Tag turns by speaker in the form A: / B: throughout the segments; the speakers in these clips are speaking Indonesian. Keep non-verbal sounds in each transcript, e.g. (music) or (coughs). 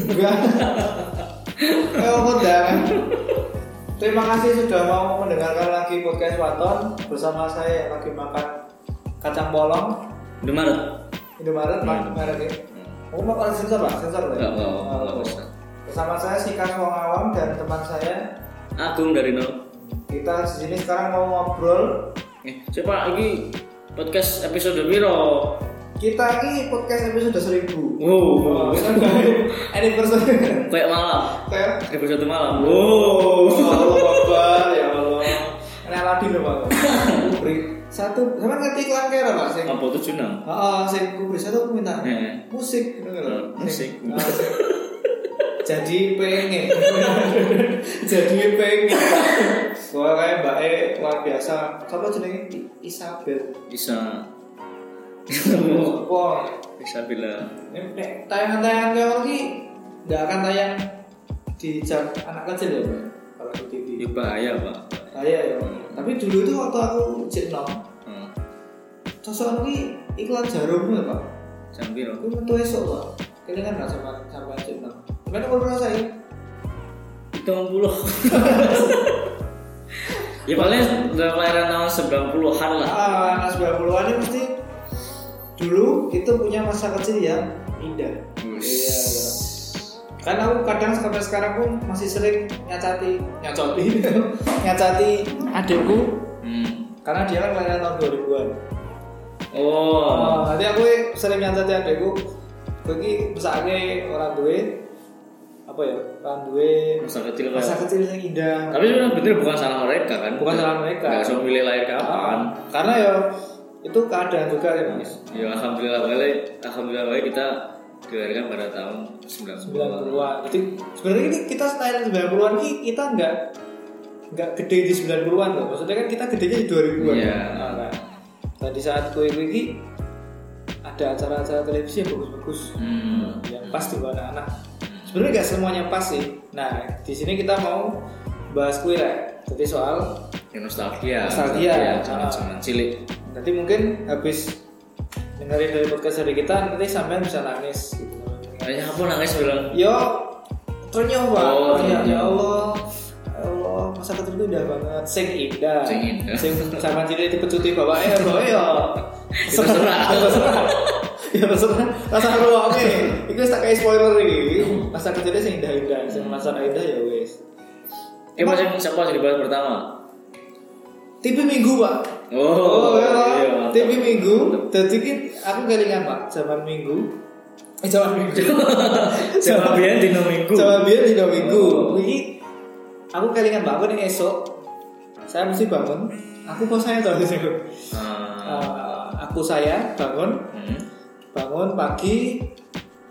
A: Enggak. Eh, undangan. Terima kasih sudah mau mendengarkan lagi podcast Waton bersama saya yang lagi makan kacang bolong
B: Udah Maret?
A: Indomaret, Pak Maret ya. Oh, makan sensor Pak, sensor ya.
B: Enggak, enggak, enggak, enggak
A: Oh.
B: usah.
A: Bersama saya Sikas Wong Awam dan teman saya
B: Agung dari nol.
A: kita di sini sekarang mau ngobrol.
B: Eh, coba ini podcast episode Wiro.
A: Kita ini podcast episode 1000.
B: Wow.
A: Oh, kita udah anniversary.
B: Kayak malam.
A: Kayak
B: Episode malam.
A: Oh,
B: Wow.
A: Allah Akbar, ya Allah. Ini Aladin loh, Pak. Kubri. Satu, sama ngerti iklan kira, Pak, sing.
B: Apa tujuh enam?
A: Heeh, sing kubri satu aku minta
B: Eh.
A: musik gitu loh.
B: Eh, musik.
A: Sing- Ah, sing. Jadi pengen. (laughs) Jadi pengen. Soalnya kayak Mbak E luar biasa. Siapa jenenge? I- Isabel.
B: (laughs) Bisa.
A: Wah,
B: Bisa bila.
A: ini nek tayangan-tayangan kayak lagi nggak akan tayang di jam anak kecil ya, Pak. Kalau di TV.
B: Ini ya, bahaya pak.
A: Saya ya. Tapi dulu itu waktu aku cek nom,
B: Hmm.
A: sosok ini iklan jarum ya pak.
B: Jam Wiro.
A: Aku metu esok pak. Kalian kan sama sama cek nom. Gimana kalau merasa ya?
B: Hitung puluh. (laughs) Ya paling udah kelahiran tahun 90-an lah.
A: Ah, anak 90-an ini mesti dulu itu punya masa kecil yang indah. Iya.
B: Wih.
A: iya. Karena aku kadang sampai sekarang pun masih sering nyacati, nyacati, (laughs) nyacati adikku
B: Hmm.
A: karena dia kan kelahiran tahun 2000-an.
B: Oh.
A: Oh, nanti aku sering nyantet ya adekku. Kowe iki besarke orang duwe apa ya? Orang duwe
B: Masa kecil
A: masa
B: kan.
A: kecil yang indah.
B: Tapi sebenarnya bener bukan salah mereka kan.
A: Bukan salah mereka.
B: Gak usah milih lahir kapan.
A: Karena ya itu keadaan juga ya, Mas.
B: Ya alhamdulillah baik. Alhamdulillah baik kita dilahirkan pada tahun 90-an.
A: 90-an. Jadi sebenarnya ini kita style 90-an ini kita enggak enggak gede di 90-an loh. Maksudnya kan kita gedenya di 2000-an.
B: Iya.
A: Nah, nah. Dan di saat kowe iki ada acara-acara televisi yang bagus-bagus.
B: Hmm.
A: yang pas di mana anak sebenarnya nggak semuanya pas sih nah di sini kita mau bahas kue lah jadi soal
B: Ya, nostalgia.
A: Nostalgia. Ah.
B: Zaman-zaman cilik.
A: nanti mungkin habis dengerin dari podcast dari kita nanti sampean bisa nangis gitu
B: Kayaknya aku nangis bilang.
A: yo ternyata pak
B: Oh,
A: ya,
B: ternyata.
A: ya Allah Ya Allah, masa kecil itu indah banget sing indah
B: Sing indah.
A: sing sama cilik itu pecuti bawa ya
B: (laughs)
A: bawa ya
B: Itu serah.
A: Itu serah. ya maksudnya rasa lu oke itu eh. tak kayak spoiler ini masa kecilnya sing indah indah sing masa indah ya wes
B: Eh masih siapa yang dibahas pertama?
A: TV Minggu pak.
B: Oh, iya, mantap.
A: TV ya. Minggu. Jadi kan aku kelingan pak, zaman Minggu. Eh zaman
B: (laughs)
A: Minggu.
B: Siapa biar di minggu?
A: Zaman biar di Minggu.
B: Oh.
A: Ini aku kelingan pak, aku nih esok. Saya mesti bangun. Aku kok saya tahu sih Bu.
B: Ah.
A: Eh, Aku saya bangun,
B: Hmm.
A: bangun pagi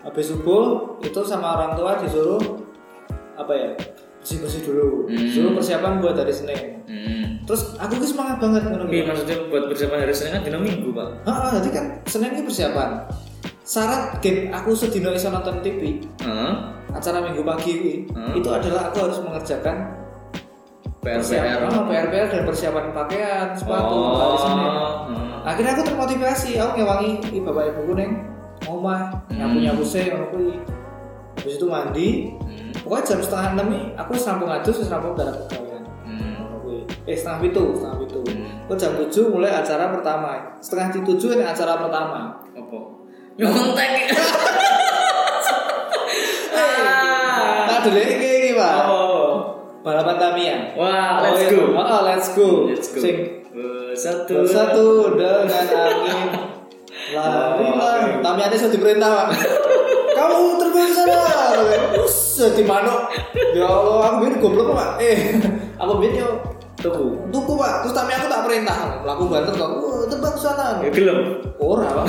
A: habis subuh itu sama orang tua disuruh apa ya bersih bersih dulu,
B: Hmm.
A: suruh persiapan buat hari Senin.
B: Hmm.
A: Terus aku tuh semangat banget ngono
B: Tapi
A: gitu.
B: maksudnya buat bersama hari Senin kan dino minggu pak.
A: Ah, nanti kan Senin ini persiapan. Syarat game aku sedino iso nonton TV
B: Heeh.
A: acara minggu pagi ini,
B: Hmm.
A: itu adalah aku harus mengerjakan
B: PR
A: persiapan oh, PR dan persiapan pakaian, sepatu,
B: Oh,
A: hari
B: ah,
A: Senin. Akhirnya aku termotivasi, aku ngewangi i bapak ibu neng ngomah,
B: Hmm.
A: nyapu nyapu saya, aku i. Habis itu mandi,
B: Hmm.
A: pokoknya jam setengah enam nih aku sambung aja, terus sambung darah pegawaian.
B: Hmm.
A: Ngono kuwi. Eh setengah itu, setengah itu. Terus jam tujuh mulai acara pertama, setengah tujuh ini acara pertama.
B: Apa? (laughs) Nyontek. Ah.
A: Tak dulu ini kayak gini pak.
B: Oh.
A: Balapan Tamiya.
B: Wah, let's go.
A: Oh, oh, let's go.
B: Let's go.
A: Sing.
B: Satu.
A: Bersatu dengan angin. Lari-lari. Tamiya ini sudah diperintah pak. Kamu terbang ke sana. Us, di mana? Ya Allah, aku biar goblok pak. Eh, aku biar yo.
B: Tuku.
A: Tuku pak. Terus Tamiya aku tak perintah. Laku banter kok. "Wah, Terbang ke sana.
B: Ya gelem.
A: Ora, Pak.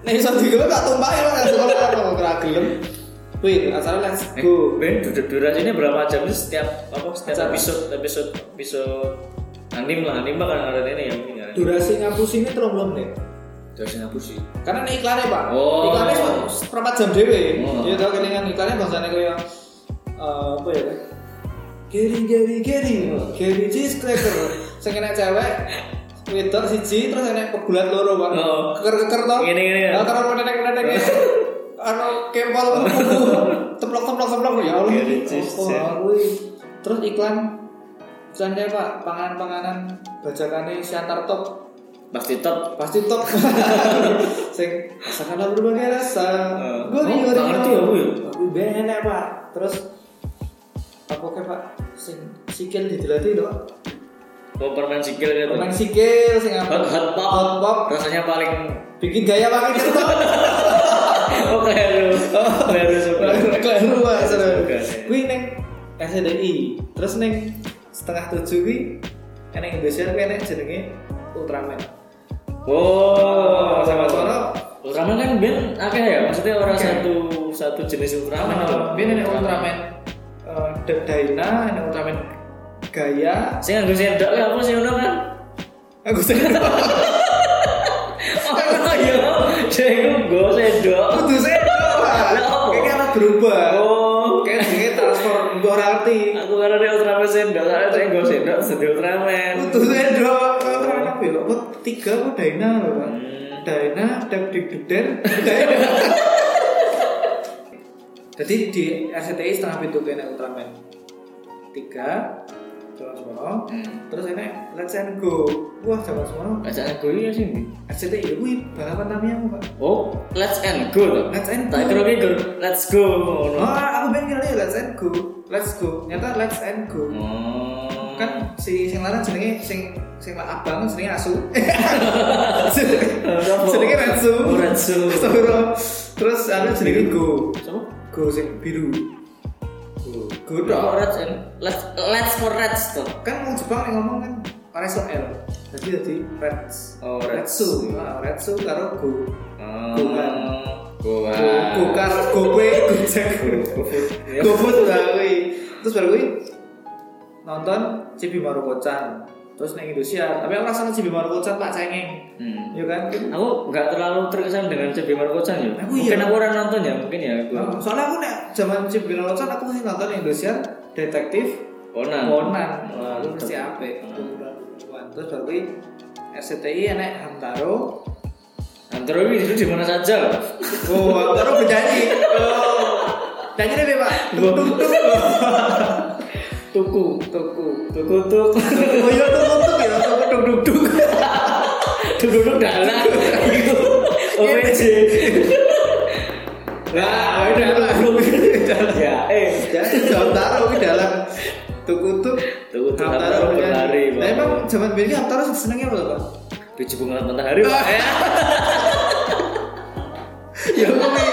A: Nek iso digelem tak tumpaki Pak, langsung ora ora gelem. Wih, acara let's
B: Eh,
A: go.
B: Ben, dur- durasinya berapa jam sih setiap apa
A: Acara.
B: setiap episode episode episode anim lah anim kan ada ini ya mungkin ya.
A: Durasi ngapus ini terus belum deh.
B: Durasinya apa sih?
A: Karena ini iklannya Pak.
B: Oh.
A: Iklannya cuma seperempat jam dewe.
B: Oh.
A: Ya tau kelingan iklannya bangsane kaya eh, apa ya? Geri geri geri. Geri cheese cracker. Sing kena cewek wedok siji terus enek kebulat loro, Pak.
B: Oh.
A: Keker-keker to.
B: Ngene-ngene ya? (laughs) Oh.
A: Nah, terus nenek-nenek. ano kempal teplok teplok teplok ya Allah.
B: Iya, ricis,
A: Apa,
B: ya.
A: aku ini. Terus iklan iklannya Pak, panganan-panganan bajakane Siantar Top
B: pasti top
A: pasti top. (laughs) Sing rasakanlah berbagai rasa.
B: Eh,
A: Gue
B: oh, nggak ngerti ya, Bu, ya?
A: Aku bener Pak. Terus apa ke Pak? Sing sikil dijelati lho. Pak.
B: mau permen sikil gitu
A: Permen sikil sing
B: hot
A: apa?
B: hot pop
A: Hot pop.
B: rasanya paling (laughs)
A: Bikin gaya pakai kertas.
B: oh keliru keliru suka
A: Keliru Pak, seru.
B: Suka, ya.
A: Kuwi neng SDI, terus neng setengah tujuh kuwi neng Indonesia kuwi neng jenenge Ultraman.
B: wow
A: Oh, sama sono
B: Oh. Ultraman kan ben akeh ya maksudnya orang
A: Akeh.
B: satu satu jenis Ultraman loh
A: Ultraman neng Ultraman eh, Dead Dyna, neng Ultraman Gaya.
B: saya nggak sendok ya apa sih ono kan
A: Aku sing
B: oh iya saya itu gue sendok
A: kudu sendok. Pak.
B: Lah, apa?
A: Kayaknya anak berubah.
B: oh
A: Kayaknya jenenge transform gue arti.
B: aku karena dia Ultraman sendok saya saya gue sendok sedih Ultraman
A: Kudu sendok. Ultraman apa ya? Apa tiga apa Dyna lho, Pak?
B: Hmm.
A: Dana dan Dikdukden Dana. (laughs) Jadi di RCTI setengah pintu kena Ultraman tiga jalan semua terus enak Let's and Go wah jalan semua
B: Ajaan gue ya sih Bi.
A: RCTI wih balapan Tamiya pak
B: oh let's end go tuh
A: Let's and
B: tak
A: Go
B: kira kira let's go ngono.
A: oh aku pengen kali Let's and Go Let's Go nyata Let's and Go
B: oh
A: kan si sing larang jenenge sing sing lah abang kan jenenge (laughs) asu Eh, jenenge Ratsu
B: Oh, Ratsu.
A: Soro. terus ada jenenge Go
B: Siapa?
A: go sing biru go go tok.
B: Oh, Rats and let's let's for rats tuh.
A: kan wong Jepang yang ngomong kan ora iso L jadi jadi reds
B: Oh,
A: redsu ah redsu karo go Gohan.
B: Gohan.
A: go go kar go kue gojek go food lah kui. terus baru kui nonton Cibi Maru Kocan terus neng Indonesia tapi aku rasanya Cibi Maru Kocan pak cengeng
B: Hmm.
A: ya kan
B: Aku nggak terlalu terkesan dengan Cebi Markocan ya.
A: Aku iya.
B: Mungkin aku orang nonton ya, mungkin ya. aku.
A: Nah, soalnya aku nek zaman Cibi Maru Kocan aku masih nonton Indonesia detektif
B: Conan.
A: Conan
B: Wah,
A: lu mesti apik kumpulan terus baru kuwi RCTI enek Hamtaro
B: Antara ini itu di mana saja.
A: oh Hamtaro penyanyi oh nyanyi deh pak tuk tuk tuk
B: Tuku,
A: tuku
B: tuku tuk,
A: oh iya tuk tuk ya tuk tuk tuk
B: (laughs)
A: tuk
B: tuk tuk
A: (laughs)
B: dalam. OPJ.
A: nah udah lah
B: Ya, eh.
A: jadi Hamtaro kuwi dalam tuku tuk
B: Tuku tuk Hamtaro berlari, Pak.
A: Nah, emang zaman dulu Hamtaro senengnya apa pak
B: Biji bunga matahari. Pak.
A: (laughs)
B: Eh,
A: ya aku pengen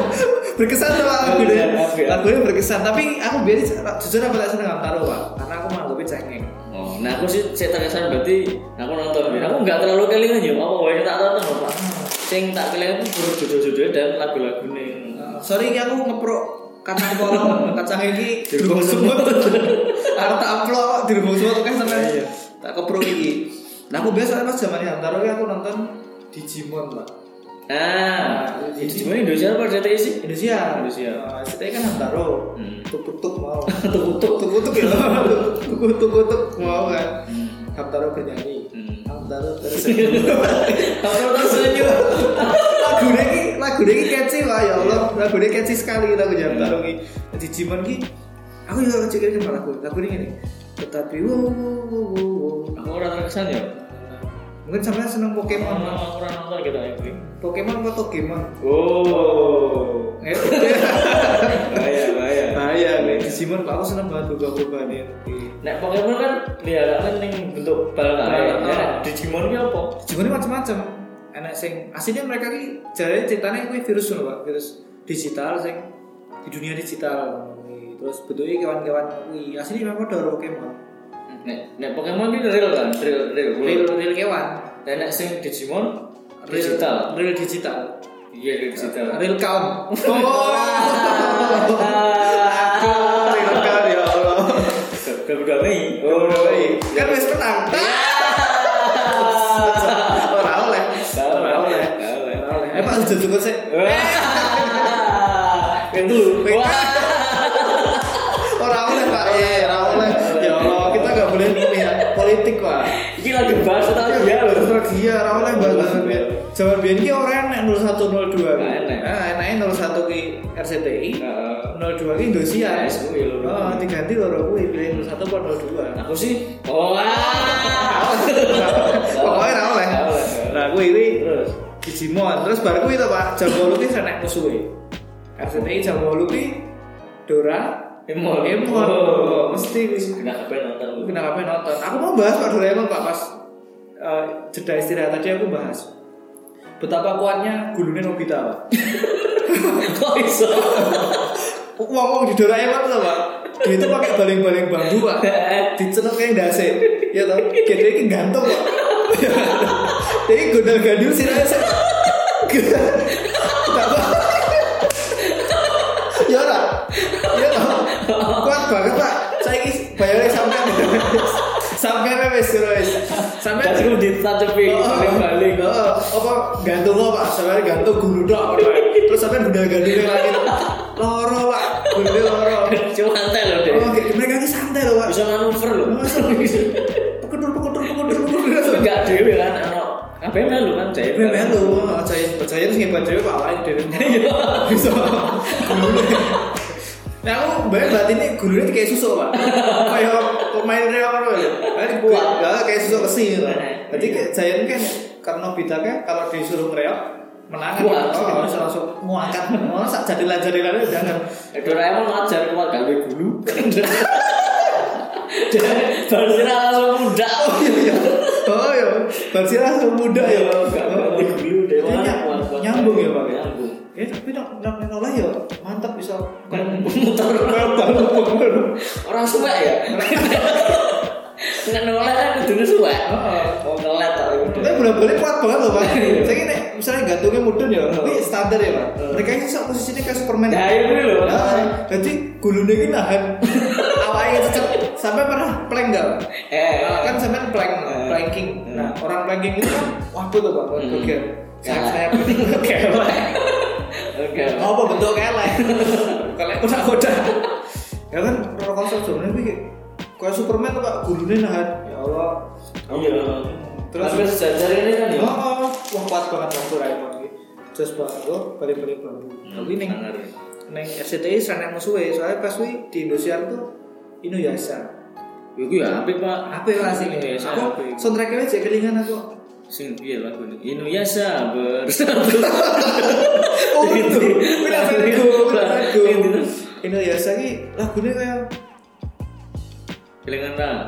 A: (laughs) berkesan tuh pak lagu
B: Iya, maaf ya.
A: lagunya berkesan tapi aku biar jujur apa tak seneng Hamtaro pak karena aku menganggapnya cengeng
B: Oh, nah aku sih saya terkesan berarti aku nonton Ben. aku nggak terlalu kelingan ya apa wae tak nonton lho, Pak.
A: Eh,
B: Sing tak kelingan itu baru judul-judulnya dan lagu-lagune.
A: sorry ini aku ngeprok kacang polong kacang ini dirubung
B: Dirubung
A: semut aku tak amplop kok dirubung semut kan seneng
B: Iya, iya.
A: tak keprok ini nah aku biasa pas zaman Hamtaro ini aku nonton Digimon pak
B: Ah, itu cuma Indonesia apa DTI sih?
A: Indonesia
B: Indonesia.
A: Nah, STI kan Hamtaro
B: Hmm.
A: tuk tuk tuk
B: (laughs)
A: mau tuk tuk tuk tuk ya tuk tuk tuk tuk mau kan Hamtaro bernyanyi
B: Hmm.
A: Hamtaro tersenyum
B: Kamu tersenyum.
A: lagu ini lagu ini catchy lah ya Allah lagu ini catchy sekali lagu jam taruh ini di Jimon ini aku juga ngecek ini kemana lagu lagu ini gini tetapi wow wow wow wow wow.
B: Aku orang terkesan ya.
A: mungkin sampai seneng Pokemon
B: Emang aku orang nonton gitu ya. Bing.
A: Pokemon atau Pokemon
B: Oh.
A: Eh,
B: Bahaya, bahaya.
A: bahaya nih Digimon aku seneng banget berubah berubah nih
B: Nek Pokemon kan peliharaannya ning bentuk bal kan.
A: Bal,
B: Ya,
A: ah.
B: nek Digimon ki apa?
A: Digimon ini macam-macam enak sing aslinya mereka ini jalannya ceritanya ini virus loh pak virus digital sing di dunia digital terus bentuknya kawan-kawan wih aslinya memang ada Pokemon
B: Nek nek Pokemon ki real kan, real real.
A: real real kewan
B: Dan nek sing Digimon digital.
A: real digital
B: Iya, real digital.
A: real count oh real count ya Allah
B: Udah Mei.
A: oh kan wis menang ora oleh ora oleh Ora oleh. eh Pak sudah cukup sih
B: Itu.
A: (laughs)
B: Wah.
A: ora oleh Pak ya ora oleh ya Allah kita nggak boleh ini ya politik Pak Iya,
B: Ini lagi bahas tentang dia loh.
A: Nostalgia, ora oleh banget Jaman Nah, biyen ki ora enak 0102. ki.
B: Nggak enak.
A: Nah, enake 01 ki RCTI,
B: Heeh.
A: 02 ki Indosiar.
B: Yes, kuwi lho.
A: Oh, diganti loro kuwi pilih 01 apa 02.
B: aku sih oh ah.
A: Pokoknya ra oleh.
B: Ra oleh.
A: Nah, kuwi kuwi
B: terus
A: Digimon. Terus bar kuwi to, Pak. Jam 8 ki senek musuhe. RCTI Kan jam 8 ki Dora
B: Emon
A: Emon. Mesti kuwi.
B: Nah, apa yang nonton
A: Aku kenapa nonton? Aku mau bahas Pak Doraemon Pak pas eh, jeda istirahat tadi aku bahas betapa kuatnya gulungnya Nobita Pak.
B: kok iso
A: Uang-uang di Doraemon tuh Pak. Dia itu pakai baling-baling bambu Pak. Dicelup kayak dasi. Ya tau. Gede ini gantung Pak. (laughs) Jadi gondol gandul sih rasa. Kenapa? Ya lah. Ya lah. Kuat banget Pak. Saya ini bayarnya sampai (laughs) sampai wes wes sampai
B: Jadi aku ditacepi balik
A: Oh, oh, apa gantung lo pak sampai gantung guludok Pak. terus sampai benda gantung lagi loro pak benda loro
B: cuma santai loh deh
A: oh kayak mereka ini santai loh pak
B: bisa manuver loh
A: Masa lo bisa? pekedur pekedur pekedur pekedur
B: enggak dewe kan ano apa yang melu kan cek
A: Tapi memang lo percaya percaya terus ngebat cewek pak lain dari
B: Iya.
A: (laughs) bisa Gulune. Nah, aku bayang banget ini gulungnya kayak susu pak kayak pemain real apa ya kan kuat kayak susu besi gitu
B: Iya.
A: jadi kayak Giant kan karena Nobita kan kalau disuruh ngereok menangan
B: Kuat.
A: gitu. oh, langsung langsung muangkat mau sak jadilan jadilan jangan
B: Doraemon ngajar kuat gak duwe gulu (laughs) dan Barsira langsung muda
A: oh iya iya oh iya Barsi langsung muda ya Pak.
B: gak
A: Oh,
B: duwe gulu deh
A: Jadi
B: Orang
A: nyam-
B: kuat-kuat.
A: nyambung ya pak ya
B: nyambung
A: eh tapi nak nak nolak ya mantap bisa
B: kan muter
A: Kayak balon, balon.
B: orang suwe ya (laughs) nggak nolak kan kudu suwe
A: Heeh.
B: mau ngelet tapi udah
A: Tapi bola-bolanya kuat banget loh pak.
B: Iya.
A: Saya kira misalnya gantungnya mudun ya, tapi standar ya pak. Mereka ini sok posisinya kayak Superman.
B: Nah, iya, iya, loh.
A: Nah, Jadi gulungnya ini
B: (laughs)
A: nahan awalnya cecep sampai pernah plank nggak? Pak?
B: eh
A: Nah,
B: (laughs)
A: kan sampai plank,
B: Eh.
A: planking. Nah orang planking itu kan waktu tuh pak, waktu
B: Hmm.
A: gear. Saya
B: Kalah. (laughs)
A: saya kelek.
B: oke
A: Apa bentuk
B: (laughs)
A: kelek? Kelek kuda kuda. Ya kan roller coaster sebenarnya kayak kayak Superman tuh pak gulungnya nahan. Ya Allah.
B: iya
A: Terus-
B: terus sampai sejajar ini kan ya
A: Oh, wah kuat banget waktu Raymond iki. Jos banget lo balik-balik bambu.
B: Hmm,
A: Tapi ning
B: Bener.
A: ning RCTI sana musuhe e, soalnya pas kuwi di Indonesia tuh Inuyasha.
B: Iku ya apik pak
A: Apa lah sih ini?
B: Inuyasha
A: Aku
B: apik.
A: soundtrack-nya aja kelingan aku.
B: Sing piye lagu ini Inuyasha bersatu (laughs)
A: Oh, itu. Kuwi lagu iku, kuwi lagu.
B: Ini tuh.
A: Inuyasha ki lagune kaya
B: Kelingan lah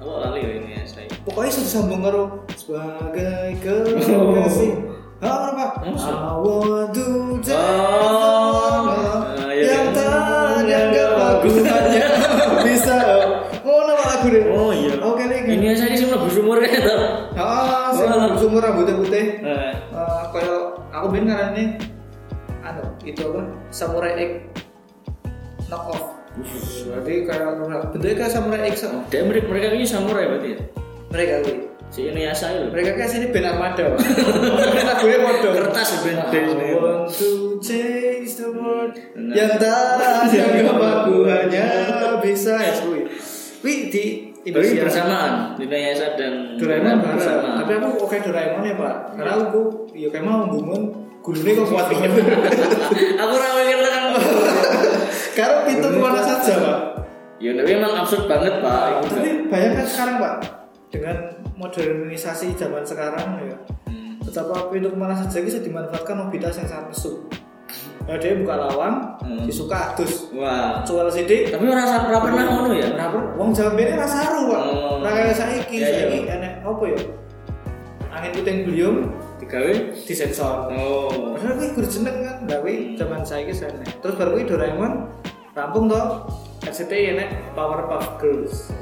B: Aku lali ya Inuyasha ini
A: pokoknya sudah sambung karo sebagai
B: Oh.
A: kekasih. Ah, apa? I
B: Masa?
A: want to dance
B: Oh. Ah, iya,
A: yang
B: iya.
A: tanyakan aku hanya bisa. Oh, nama lagu deh.
B: Oh iya
A: Oke, nih. gini.
B: Inuyasha ini semua bersumur kan tau
A: Oh, sing
B: Oh.
A: sumur rambutnya putih.
B: Eh,
A: Eh, Kayak aku ben ngarane anu, itu apa? Samurai X knock off. Berarti kayak bentuknya kayak Samurai X sama.
B: Dia mereka mereka ini samurai berarti ya
A: mereka kuwi.
B: Si Inuyasha itu
A: Mereka kan sini band armada. Pak.
B: (laughs)
A: Lagunya modal.
B: Kertas ya, band- band ini.
A: I want to change the world.
B: Nah.
A: Yang tak
B: (laughs)
A: yang aku hanya bisa ya kuwi. Kuwi di
B: Berarti
A: Indonesia.
B: bersamaan Inuyasha dan
A: Doraemon bareng.
B: bersamaan
A: Tapi aku oke Doraemon ya Pak. Karena
B: Iya.
A: aku ya kayak mau gumun gulune kok kuat banget.
B: (laughs) (laughs) Aku rawe kan
A: Karena pintu kemana saja Pak.
B: Ya tapi emang absurd banget pak Itu
A: (laughs) Tapi bayangkan sekarang Pak dengan modernisasi zaman sekarang ya.
B: Hmm.
A: betapa pintu kemana saja bisa dimanfaatkan mobilitas yang sangat mesum ya dia buka lawang
B: Hmm.
A: disuka adus
B: Wah
A: soal sidik
B: Tapi rasa pernah pernah ngono ya
A: kenapa wong jambene ra saru pak
B: Oh.
A: ra kaya saiki
B: Ya, ya.
A: saiki enek apa ya angin puting beliung
B: Digawe
A: disensor
B: Oh
A: padahal kuwi guru jeneng kan lah
B: Hmm.
A: kuwi zaman saiki sana terus baru kuwi Doraemon rampung to RCTI enek Powerpuff Girls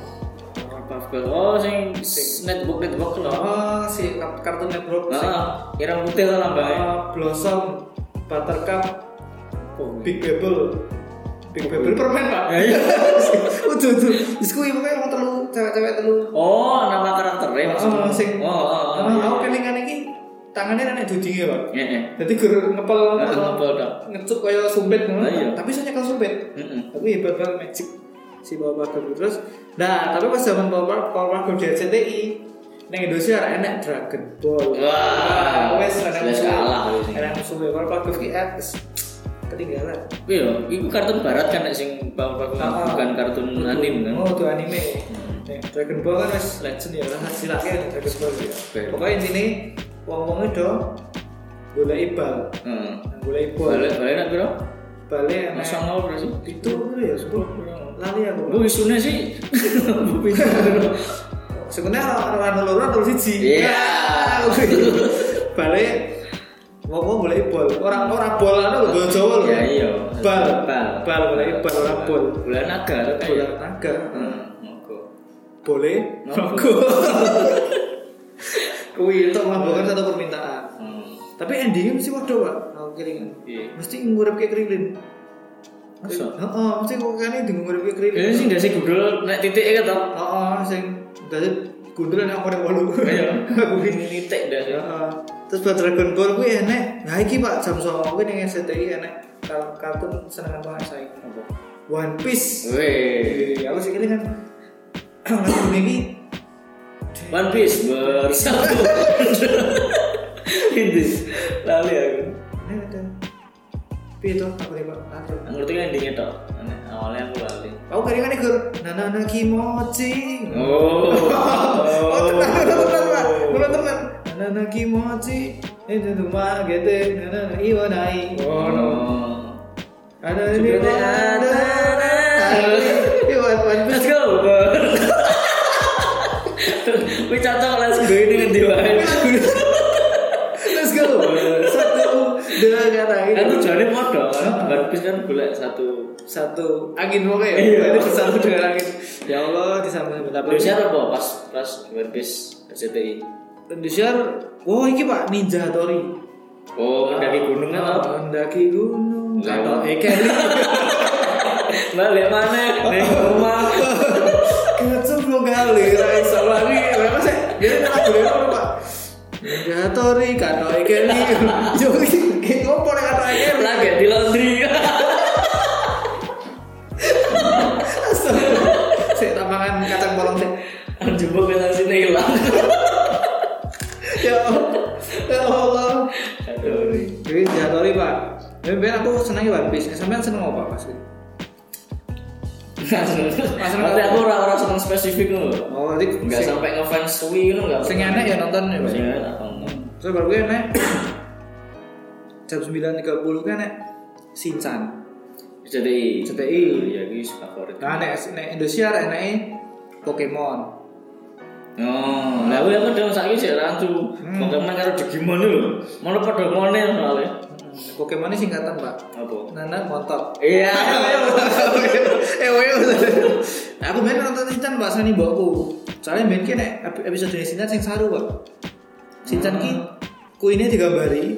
B: Puff Girl. Oh, sing sing netbook netbook lho.
A: oh si kart- kartun network Oh, sing
B: Nah, ireng putih lah ya. lambangnya.
A: uh, Blossom Buttercup
B: Oh,
A: Big Bebel Big Bebel permen pak
B: Ya,
A: (laughs)
B: iya.
A: Udah udah Terus gue pokoknya orang terlalu Cewek-cewek terlalu
B: Oh, nama karakternya maksudnya.
A: Oh, sing-
B: Oh, oh, oh.
A: Nah, Aku
B: iya.
A: kelingan ini Tangannya nenek dudingnya pak
B: Iya, iya.
A: Jadi gue ngepel
B: Nah, ngepel, Kak.
A: Ngecuk kayak sumpit ngono.
B: Nah, iya. Hmm.
A: Tapi saya nyekel sumpit
B: Mm-mm.
A: Tapi hebat banget magic Si Bapak Girl terus Nah tapi pas zaman Bapak Bapak Girl di RCTI Neng Indonesia ada enak Dragon Ball.
B: Wah,
A: wes ada
B: jelas
A: musuh.
B: kalah wes ini.
A: Ada musuh ya. Kalau Pak Rifki atas ketinggalan.
B: Iya, itu kartun barat kan nek sing Power Puff
A: Ah.
B: bukan kartun anime kan. Hmm.
A: Oh, itu anime. Neng Dragon Ball kan wes legend ya. Lah silake ada Dragon Ball ya.
B: Betul.
A: Pokoknya intinya wong-wonge do golek bal.
B: Heeh.
A: Nang golek bal.
B: Balik balik nak piro?
A: Bale enek
B: Masa ngono berarti?
A: itu ya 10 lali aku.
B: Bu isune sih.
A: (laughs)
B: Bu pintu.
A: sebenarnya orang loro atau siji (laughs)
B: Iya.
A: balik mau mau mulai bol orang orang bol anu lho, bol jawa lho.
B: Ya iya.
A: bal
B: Bal.
A: bal mulai bal orang bol
B: Bulan naga tuh
A: bol
B: kayak.
A: naga
B: Heeh. Monggo.
A: boleh (laughs)
B: Monggo.
A: kuwi untuk melakukan satu permintaan
B: Hmm.
A: tapi endingnya mesti waduh pak aku kelingan
B: Iya.
A: mesti ngurep kayak keringin
B: Masa?
A: Heeh, mesti kok kene di ngurep kayak keringin
B: Ini sih nggak sih Google nek titik kan tau.
A: Heeh, sing dadi gundul nek aku ning wolu
B: Iya.
A: (laughs) aku
B: Ini titik dah sih.
A: Heeh. Terus buat Dragon Ball gue enek. Nah iki Pak jam 09.00 gue ning SCTI enek kar- kartun senengan banget saya. One Piece. Wih,
B: Weh.
A: aku sih kan (clears throat) nonton ini
B: One Piece bersatu.
A: (laughs)
B: Intis. Lali aku.
A: ini ada Piye to aku lihat Pak.
B: Yang ngerti kan endingnya toh. Awalnya aku lali.
A: Aku kali kan ikut Nana Nana Kimochi.
B: Oh.
A: Oh, tenang, tenang, tenang, Pak. Tenang, tenang. Nana Nana Kimochi. Ini tuh mah gitu. Nana Nana Iwa Nai.
B: Oh.
A: Ada ini ada. Iwa One Piece.
B: Let's go. Ber. (laughs) Wih cocok let's go ini ngendi wae.
A: Let's go. Satu dengan kata
B: Kan
A: ini.
B: tujuannya modal kan. One Piece kan golek satu.
A: Satu angin oke ya.
B: Iya.
A: Ini bersatu dengan angin. Ya Allah disambung betapa.
B: Indonesia apa pas pas One Piece RCTI.
A: Indonesia. Wow, Oh, ini Pak Ninja Tori.
B: Oh, mendaki gunung kan tau.
A: Mendaki gunung. Eh, Atau
B: Lewat.
A: Eka.
B: Balik mana? (laughs) Nih rumah.
A: Kacau belum kali, lain lagi, kenapa sih? kan Jadi malah boleh apa pak? Ya tori kata ikan nih, jadi kayak ngompor yang kata ikan
B: Lagi di laundry. (laughs)
A: Saya tak makan kacang polong sih.
B: Jumbo kata sini hilang.
A: Ya Allah, ya Allah.
B: Aduh.
A: Jadi ya tori pak. Tapi biar aku senangnya One Piece. Kesampean seneng apa pak pasti?
B: Nanti aku ora-ora seneng spesifik loh.
A: Oh nanti
B: Enggak Iya. sampai ngefans suwi ngono enggak.
A: Sing enak ya nonton ya pak.
B: Sing enak nonton.
A: Terus baru gue nek jam sembilan tiga puluh kan nek Shinchan.
B: CTI.
A: CTI.
B: Ya iki favorit.
A: Nah, nek, nek Indonesia nek nek Pokemon.
B: Oh, lah aku aku dong saiki sik rancu. Pokemon karo Digimon lho. Mana padha ngone soalnya.
A: Hmm, Pokemon ini singkatan pak.
B: Apa?
A: Nana montok. (laughs)
B: Iya.
A: Eh wew. Nah, Aku main nonton Shinchan pak Sani mbokku. Soalnya main kene ep- episode ini Shinchan sing saru pak. Shinchan
B: Hmm.
A: ki kuine digambari.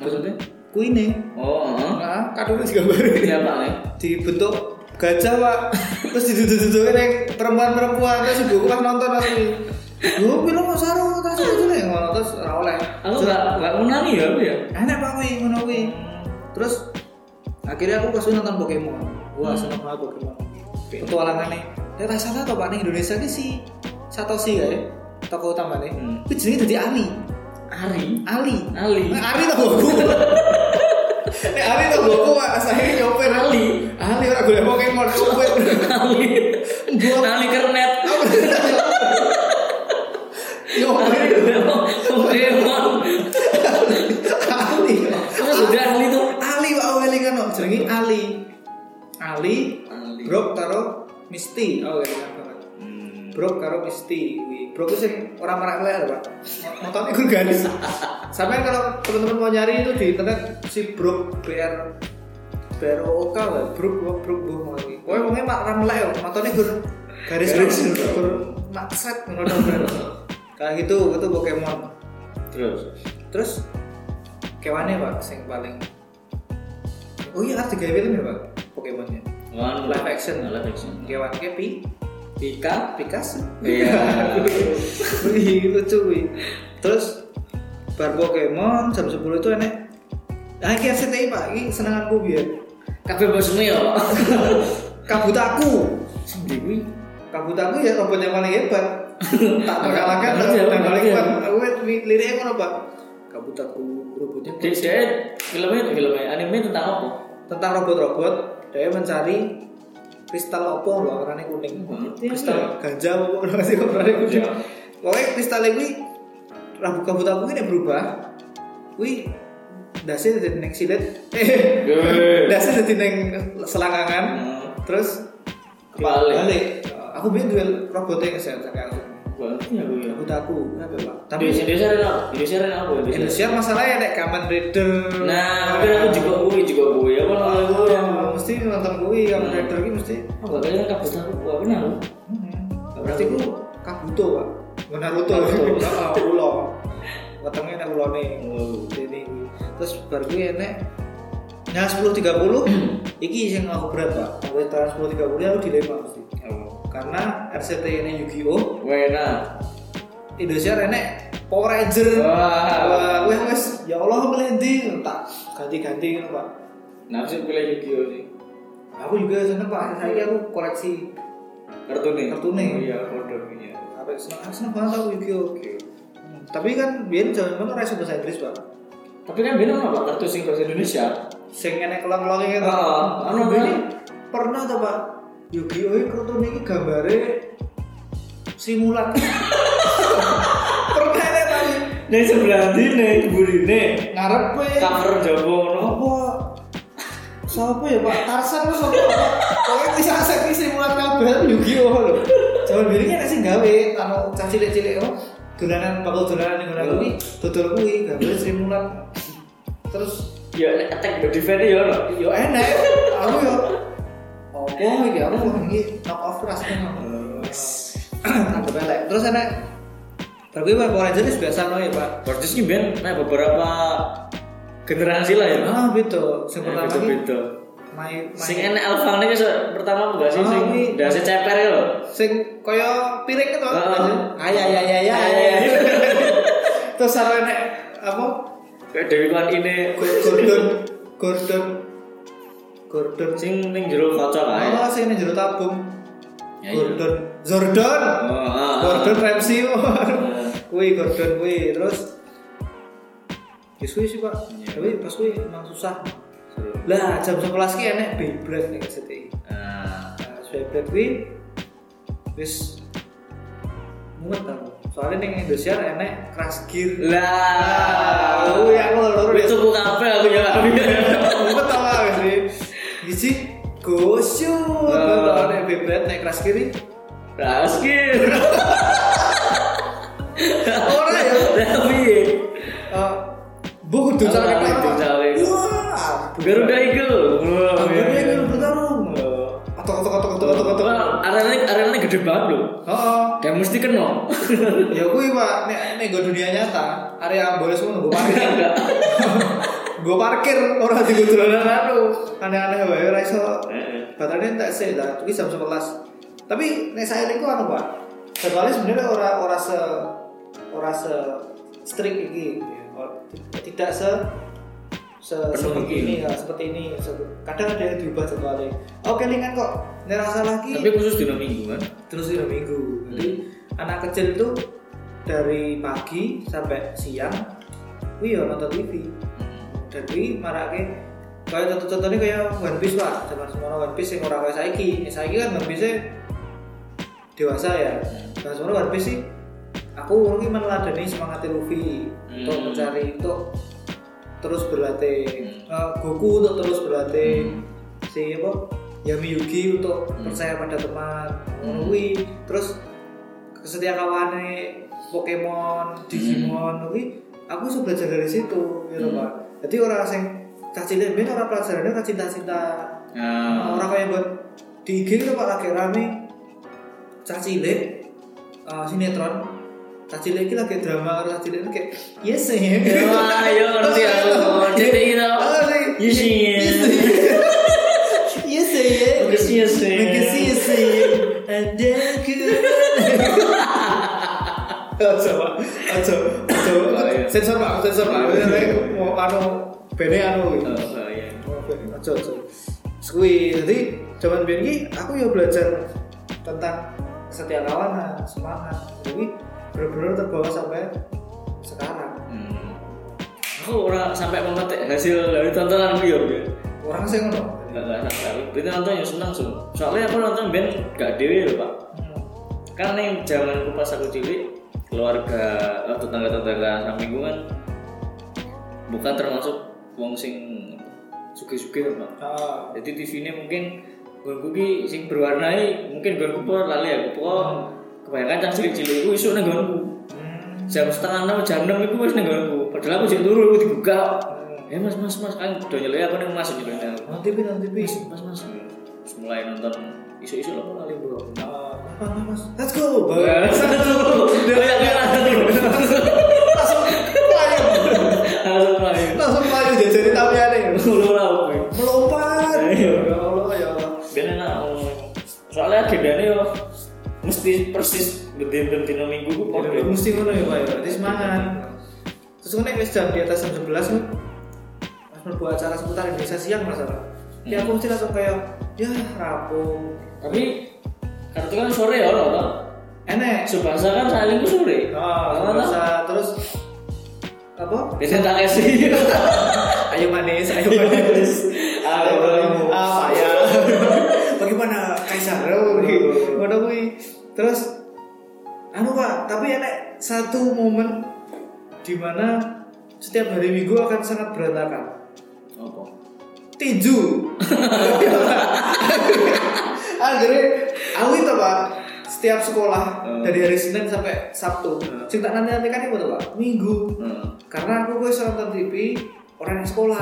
B: Maksudnya?
A: Kuine.
B: Oh, heeh.
A: Nah, kadungnya digambari.
B: Iya Pak nih.
A: dibentuk gajah pak terus diduduk-dudukin yang perempuan-perempuan terus ibuku pas nonton asli gue bilang mau saru terus itu nih ngono terus ora oleh
B: Aku enggak enggak menangi ya aku ya.
A: enak pak kuwi ngono kuwi terus akhirnya aku kesini nonton Pokemon wah
B: Hmm.
A: seneng banget Pokemon petualangannya ya tak salah tau pak ning Indonesia ini si Satoshi ya toko utama nih
B: Hmm.
A: itu jenis jadi Ali
B: Ari.
A: Ali
B: Ali.
A: Nah, Ari tau gue Nek Ari tau gue pak saya nyopir
B: Ali.
A: Ali ora golek Pokemon nyopir
B: Ali.
A: Gua-
B: Ali kernet.
A: Yo,
B: Ali Pokemon. Pokemon.
A: Ali.
B: Terus udah Ali tuh.
A: Ali wae Ali kan no, jenenge Ali. Ali,
B: Ali.
A: Brok karo Misty. Oh, ya kan. kan.
B: Hmm,
A: Brok karo Misty. Wih, Brok itu sing orang marak leher, Pak. Motornya gurganis. Sampai kalau teman-teman mau nyari itu di internet si Brok BR BROK lah, Brok Brok Brok Brok mau lagi. Pokoknya wongnya mak orang leher, motornya gur garis
B: Garis.
A: garis gur mak set ngono. Kayak gitu, itu Pokemon.
B: Terus.
A: Terus kewannya pak, yang paling Oh iya, arti gawe film ya pak, Pokemonnya.
B: One
A: Live action.
B: Live action.
A: Kewan Pi,
B: Pika.
A: Picasso.
B: Iya.
A: Wih, lucu wih. Terus bar Pokemon jam 10 itu enek. Ah, iki RCTI pak, ini seneng aku biar.
B: Kabeh bosmu ya. Pak.
A: Kabut aku,
B: Sendiri.
A: kabut aku ya robot yang paling hebat. tak bakalakan
B: Ngerti ya,
A: tak balik
B: ngerti ya.
A: kan aku liriknya ngono pak kabutatku robotnya
B: Jadi saya filmnya itu filmnya anime tentang apa?
A: tentang robot-robot dia mencari kristal opo nggak warnanya kuning
B: Hmm.
A: kristal ganja opo (laughs) nggak sih warnanya kuning
B: Ya.
A: pokoknya kristal ini rambut kabut aku ini berubah wih dasar jadi neng silet eh (laughs)
B: Gede.
A: dasar jadi neng selangkangan
B: Hmm.
A: terus
B: Kebalik.
A: aku biar duel robotnya kesehatan kayak aku
B: Berarti ya gue.
A: rambut aku kenapa pak tapi
B: Indonesia Indonesia ada Indonesia ada apa? Indonesia.
A: Indonesia masalahnya ada Kamen Rider
B: Nah, mungkin aku juga gue juga gue ya kan kalau gue yang
A: Oh, mesti nonton gue Kamen
B: Hmm.
A: Rider ini mesti
B: Oh, gak kayaknya kabus aku gua kenal. Hmm.
A: berarti ku Kabuto pak Nggak Naruto
B: Naruto.
A: (laughs) Ah, ulo wetenge nek ulone dene iki. terus bar kuwi enek nah
B: Hmm.
A: 10.30 iki sing aku berat pak aku tekan 10.30 aku dilema mesti
B: Oh.
A: karena RCT ini Yu-Gi-Oh
B: Wena.
A: Indonesia enek Power Ranger
B: Wah.
A: Wah, wes wes ya Allah melending tak ganti-ganti ngono pak
B: Nah, sih pilih Yu-Gi-Oh sih.
A: aku juga seneng pak saya aku koleksi
B: Kartu nih.
A: Kartu nih.
B: Iya, kode iya.
A: apa seneng aku seneng banget aku Yu-Gi-Oh Hmm, tapi kan biar jangan banget rasa bahasa Inggris pak
B: Tapi kan beda apa kartu sing bahasa Indonesia.
A: sing enek kelong-kelongnya kan
B: Heeh. Anu
A: Anu
B: beli.
A: ini pernah tuh pak Yu-Gi-Oh ini kartun ini gambarnya simulat (laughs) pernah ya, ini tadi
B: Nih sebelah ndi nih burine.
A: ngarepe
B: Cover jowo ngono.
A: apa siapa ya pak Tarsan lu siapa Pak? pokoknya bisa asek ini simulat kabel Yu-Gi-Oh loh jangan bilang ini sih ya, gawe anu cah cilik-cilik oh dolanan bakal dolanan yang ngono kuwi dodol kuwi gambar simulat terus
B: Ya nek attack body fan ya ono.
A: yo enak aku yo apa iki aku ini knock off rasanya tambah pelek terus enak tapi Pak Power Rangers biasa no ya Pak
B: Persis ki ben nah beberapa generasi lah ya.
A: ah betul yang pertama
B: Nah,
A: ini
B: beda-beda.
A: my
B: Sing enek alfane ki se- pertama enggak sih
A: Ah,
B: sing
A: ini.
B: dasi ceper ya lho.
A: sing kaya piring itu
B: Ah, ah.
A: ay ay ay ay ay
B: Ay, ay.
A: ya. (laughs) terus ada enak apa
B: Kayak Dewi Kwan ini
A: Gordon Gordon Gordon
B: sing ning jero kaca kae.
A: oh sing ini jero tabung
B: Ya, iya.
A: Gordon Zordon
B: Oh, ah, ah.
A: Gordon (laughs) Ramsay
B: Ah.
A: kui Gordon kui terus ya suwi sih pak
B: Iya.
A: tapi pas kui emang susah
B: Seru.
A: lah jam 11 ki enek Beyblade nih STI
B: Ah.
A: nah pas Beyblade kui wis mumet tau soalnya nih Indonesia enek Crash Gear
B: Lah,
A: Ah, aku ya, aku loro deh.
B: Wis tuku kafe aku ya.
A: (laughs) mumet tau gak sih gizi gosyo
B: Ah.
A: tau nek Beyblade nek Crash Gear ini
B: Raskin.
A: ora ya
B: Lah piye?
A: Eh, Bu kudu
B: Ah,
A: cari
B: kudu cari.
A: Wah.
B: Garuda Eagle. Wah,
A: Ambilnya
B: iya, iya.
A: kan bertarung. Atau atau atau atau atau atau.
B: Wah, arenanya arenanya gede banget loh.
A: Oh,
B: Dan mesti kena.
A: ya gue pak, nek nek gue dunia nyata, area boleh semua gue
B: Iya,
A: parkir. (laughs) gue parkir orang di gudronan anu, aneh-aneh wae ora iso. Baterainya tak sih, lah, tapi jam sebelas. Tapi nek saya ini anu pak, kecuali sebenarnya orang orang se orang se strict ini, Or- tidak se se
B: Penuh
A: seperti
B: begini.
A: ini, ya, seperti ini. Se- Kadang ada yang diubah jadwalnya. Oke, lingan kok, nek rasa lagi.
B: Tapi khusus dino minggu kan.
A: terus tiga minggu jadi anak kecil itu dari pagi sampai siang wih ya nonton TV dan wih marake kayak contoh-contohnya kayak One Piece lah zaman semua One Piece yang orang kayak saiki yang saiki kan One Piece dewasa ya zaman semua One Piece sih aku mungkin meneladani semangat Luffy untuk
B: Hmm.
A: mencari untuk terus berlatih
B: Hmm.
A: Eh, Goku untuk terus berlatih
B: Hmm.
A: si apa Yami Yugi untuk
B: Hmm.
A: percaya pada teman
B: Hmm.
A: kuwi terus kesetia kawane
B: Hmm.
A: Pokemon Digimon kuwi aku bisa belajar dari situ gitu
B: Hmm.
A: Pak jadi orang sing cacile ben orang pelajarannya orang cinta-cinta
B: Nah,
A: orang kayak buat di IG itu Pak lagi rame cacile eh, sinetron cacile ini lagi drama karo cacile ini kayak yes gitu. ya
B: Wah, ya ngerti
A: (laughs)
B: aku. CTI tau.
A: Oh, sih.
B: Yes, ya.
A: yes yes yes yes
B: Makasih ya, Sen.
A: Makasih ya sayang Ada ku Coba Coba
B: iya.
A: Sensor pak Sensor pak
B: Iya.
A: Ini Mau anu Bene anu
B: Oh, oh, iya.
A: Aja aja Sekui Jadi Zaman biar ini Aku ya belajar Tentang setia kawanan semangat jadi bener-bener terbawa sampai sekarang
B: Hmm. Aku ora sampai memetik hasil dari tontonan ku yo. Bro.
A: orang sih ngono
B: Enggak enggak sampai. Berarti nonton yo seneng sum. Soalnya aku nonton band gak dhewe lho, Pak. Kan ning jamanku pas aku cilik, keluarga eh, tetangga-tetangga sampingku kan bukan termasuk wong sing sugih-sugih lho, Pak.
A: Ah,
B: Jadi TV ini mungkin gonku ki sing berwarnai mungkin gonku pun lali aku pokok kebanyakan cah cilik-cilik iku isuk nang gonku.
A: hmm,
B: jam setengah enam jam enam itu wis nenggonku padahal aku jadi turu aku dibuka
A: hmm.
B: ya mas mas mas kan udah nyelai aku nih mas nyelai aku
A: nonton TV nonton TV
B: mas mas mas Terus mulai nonton isu isu lah kok lali bro
A: Ah, apa, apa, mas let's go
B: Wah, kayak kayak
A: langsung pelayan
B: langsung mulai
A: langsung pelayan jajarin tamiane
B: mulu lah aku
A: melompat
B: Ayo.
A: ya Allah ya Allah
B: biar enak ngomong. soalnya agendanya yo mesti persis berdiri berdiri minggu gue kok
A: Jadi mesti ngono ya Pak ya. Berarti semangat. Terus ngono wis jam di atas jam 11 kan. Mas mlebu acara seputar Indonesia siang masalah. Ya aku mesti langsung kayak ya rapuh.
B: tapi kartu kan sore ya loh loh
A: Enek.
B: subasa kan saling gue sore
A: Ah,
B: Loh, loh.
A: biasa terus apa?
B: biasanya tak kasih
A: Ayo manis, ayo manis.
B: Ayo manis.
A: Ah, ya. Bagaimana Kaisar? Oh, kuwi. Ngono kuwi. Terus anu Pak, tapi enek satu momen di mana setiap hari Minggu akan sangat berantakan.
B: apa
A: tinju akhirnya aku itu pak setiap sekolah
B: Hmm.
A: dari hari Senin sampai Sabtu
B: Hmm.
A: cerita nanti nanti kan itu pak Minggu
B: hmm.
A: karena aku gue nonton TV orang yang sekolah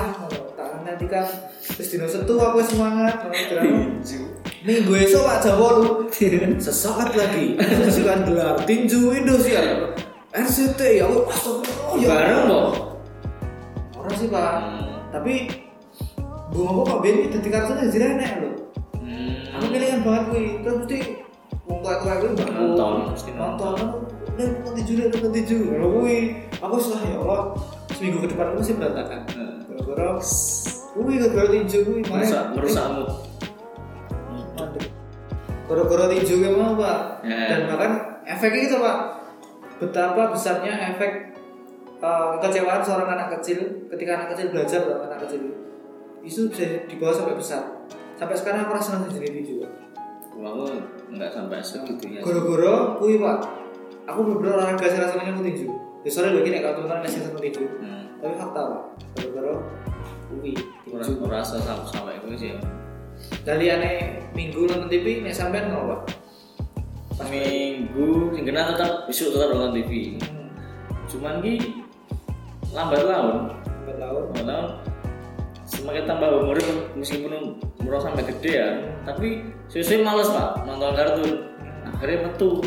A: tangan nanti kan terus dino setu aku semangat ngono, drama. Minggu esok Pak Jawa (laughs) sesaat lagi saksikan gelar tinju Indosiar RCT ya aku astagfirullah ya
B: bareng kok
A: orang sih pak tapi bunga aku kok bini dadi kartunya jadi enak loh aku pilihan banget kuwi terus mesti wong tua tua kuwi mbakku.
B: Nonton, mesti
A: nonton aku nih nonton tujuh nih nonton tujuh lho kuwi aku salah ya Allah seminggu ke depan aku mesti berantakan gara-gara kuwi gara-gara tinju kuwi makanya-
B: merusak merusak mood Hmm.
A: Waduh. gara-gara tinju kuwi mau pak
B: Ya.
A: dan bahkan efeknya gitu pak betapa besarnya efek eh, kekecewaan seorang anak kecil ketika anak kecil belajar Pak. anak kecil itu bisa dibawa sampai besar sampai sekarang aku rasa senang jadi tinju Pak.
B: Wah, aku nggak sampai ya. segitunya
A: Goro-goro kuwi Pak. Aku bener-bener olahraga sih rasanya aku tinju. Ya sore lagi nek kalau teman masih sama tinju.
B: hmm.
A: Tapi fakta Pak, goro-goro kuwi
B: kurang
A: tinju.
B: merasa sama sama itu sih
A: Dari ane minggu nonton TV nek sampean ngono Pak.
B: minggu sing kena tetap besok tetap nonton TV
A: Hmm.
B: cuman ki lambat laun
A: Sampai laut.
B: lambat laun semakin tambah umur meskipun umur sampai gede ya tapi sesuai males pak nonton kartun akhirnya metu